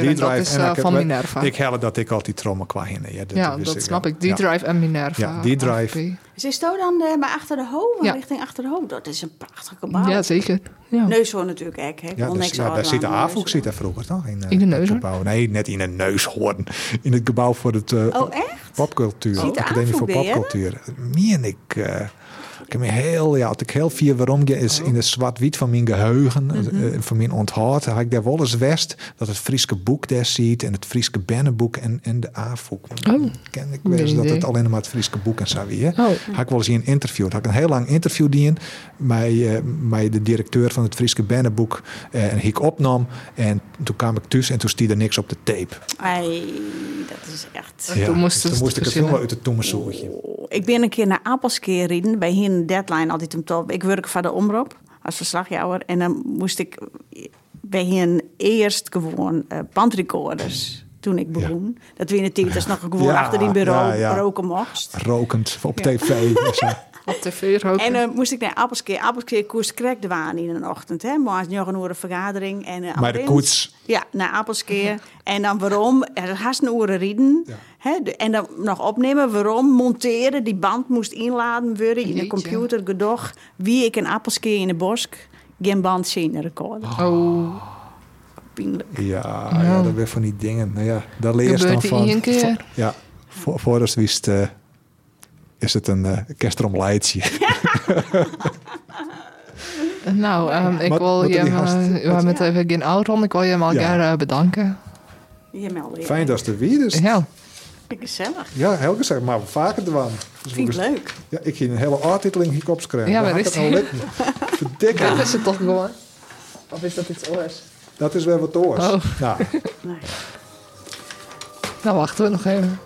[SPEAKER 2] Die
[SPEAKER 3] En dat
[SPEAKER 2] drive
[SPEAKER 3] is
[SPEAKER 2] en
[SPEAKER 3] eh,
[SPEAKER 2] ik heb
[SPEAKER 3] van
[SPEAKER 2] wel-
[SPEAKER 3] Minerva.
[SPEAKER 2] Ik hel dat ik altijd trommen qua hinnen. Ja, dat,
[SPEAKER 3] ja,
[SPEAKER 2] wist
[SPEAKER 3] dat snap
[SPEAKER 2] wel.
[SPEAKER 3] ik. D-Drive en Minerva. Ah,
[SPEAKER 2] Ja, D-Drive.
[SPEAKER 3] AFP.
[SPEAKER 4] Ze is zo dan eh, bij Achter de Hoofd,
[SPEAKER 3] Ja.
[SPEAKER 4] richting Achter de Hoofd. Dat is een prachtige baan.
[SPEAKER 3] Ja, zeker. Ja.
[SPEAKER 4] Neushoorn natuurlijk ook. Hè?
[SPEAKER 2] Ja,
[SPEAKER 4] Wel
[SPEAKER 2] dus-
[SPEAKER 4] niks
[SPEAKER 2] ja, daar
[SPEAKER 4] anders
[SPEAKER 2] zit de
[SPEAKER 4] aan
[SPEAKER 2] AFOK
[SPEAKER 4] neushoorn.
[SPEAKER 2] zit daar vroeger toch? In, eh,
[SPEAKER 3] In de
[SPEAKER 2] het
[SPEAKER 3] neushoorn?
[SPEAKER 2] gebouw. Nee, net in een neushoorn. In het gebouw voor het eh,
[SPEAKER 4] Oh, echt?
[SPEAKER 2] popcultuur.
[SPEAKER 4] Zit de
[SPEAKER 2] Academie voor
[SPEAKER 4] AFOK bij, hè?
[SPEAKER 2] popcultuur. Meen ik... eh, ik heb me heel, ja, had ik heel vier waarom je
[SPEAKER 3] Oh.
[SPEAKER 2] is in het zwart-wit van mijn geheugen,
[SPEAKER 3] Mhm.
[SPEAKER 2] eh, van mijn onthoud, had ik daar wel eens west dat het Frieske boek daar ziet en het Frieske bennenboek en, en de AFOK.
[SPEAKER 3] Oh.
[SPEAKER 2] Ken ik wel eens
[SPEAKER 3] Nee
[SPEAKER 2] dat het
[SPEAKER 3] idee.
[SPEAKER 2] alleen maar het Frieske boek en zo weer.
[SPEAKER 3] Oh.
[SPEAKER 2] Had ik wel eens in een interview. Had ik een heel lang interview die in bij, eh, bij de directeur van het Frieske Bennenboek. eh, en ik opnam. En toen kwam ik thuis en toen stierde niks op de tape.
[SPEAKER 4] Ei, dat is echt.
[SPEAKER 3] toen moest
[SPEAKER 2] dus
[SPEAKER 3] het
[SPEAKER 2] toen moest ik het
[SPEAKER 3] verzinnen.
[SPEAKER 2] film uit het toemersoertje.
[SPEAKER 4] Ik ben een keer naar Apelskeer rijden bij hier in deadline altijd om top. Ik werk voor de omroep als verslagjouwer. En dan moest ik bij hen eerst gewoon eh, bandrecorders toen ik begon. Dat we in de tienters nog gewoon
[SPEAKER 2] Ja,
[SPEAKER 4] achter die bureau
[SPEAKER 2] ja, ja.
[SPEAKER 4] roken mocht.
[SPEAKER 2] Rokend op tv. Dus, eh,
[SPEAKER 3] Op tv roken.
[SPEAKER 4] En eh, dan moest ik naar Appelskeer. Appelskeer koers krek de waan in de ochtend. Hè? Morgens nog een uur een vergadering. En, eh,
[SPEAKER 2] Maar de
[SPEAKER 4] abends-
[SPEAKER 2] koets.
[SPEAKER 4] Ja, naar Appelskeer. En dan waarom? Er haast een uur rieden. Hè? De- En dan nog opnemen waarom. Monteren. Die band moest inladen worden in de
[SPEAKER 3] Jeetje.
[SPEAKER 4] computer. Gedoch. Wie ik in Appelskeer in de bosk. Geen band zien
[SPEAKER 2] Ah.
[SPEAKER 4] recorden.
[SPEAKER 3] Oh,
[SPEAKER 4] Pijnlijk.
[SPEAKER 2] ja, ja, dat weer van die dingen. Nou ja, daar leer je dan
[SPEAKER 3] gebeurt
[SPEAKER 2] van.
[SPEAKER 3] die één keer.
[SPEAKER 2] Ja, voor, voor het wist eh, is het een eh kerstrom leidje.
[SPEAKER 3] Nou, ehm, ik
[SPEAKER 2] Wat-
[SPEAKER 3] wil
[SPEAKER 2] wat
[SPEAKER 3] je
[SPEAKER 2] die gast-
[SPEAKER 3] maar- we
[SPEAKER 2] wat-
[SPEAKER 3] met even geen oud rond. Ik wil je maar
[SPEAKER 2] Ja.
[SPEAKER 3] graag, eh, bedanken.
[SPEAKER 4] Je meldt
[SPEAKER 2] Fijn dat ze er weer is.
[SPEAKER 3] Ja,
[SPEAKER 4] Gezellig.
[SPEAKER 2] Ja, Helge zegt maar vaker ervan. Dus
[SPEAKER 4] Vind ik
[SPEAKER 2] we-
[SPEAKER 4] leuk.
[SPEAKER 2] Ja, ik ging een hele aartiteling hier opschrijven.
[SPEAKER 3] Ja,
[SPEAKER 2] Daar
[SPEAKER 3] waar
[SPEAKER 2] had
[SPEAKER 3] is
[SPEAKER 2] ik het
[SPEAKER 3] die?
[SPEAKER 2] al lekker. Verdikke.
[SPEAKER 3] dat is het toch gewoon. Of is dat iets anders?
[SPEAKER 2] Dat is weer wat oors.
[SPEAKER 3] Oh.
[SPEAKER 2] Nou,
[SPEAKER 4] Nee.
[SPEAKER 3] Nou, wachten we nog even.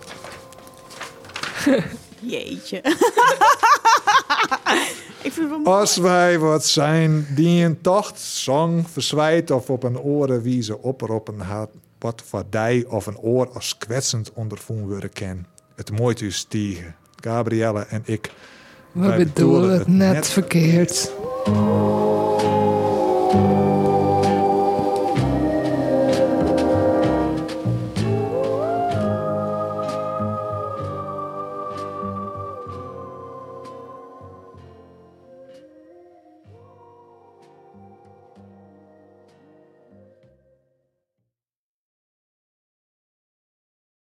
[SPEAKER 4] Jeetje. ik vind het wel mooi.
[SPEAKER 2] als wij wat zijn die een tocht, zang, verzwijt of op een oren wiezen oproepen had, wat voor dij of een oor als kwetsend ondervoen worden ken. Het mooit u stiegen. Gabrielle en ik.
[SPEAKER 3] We bedoelen het net verkeerd.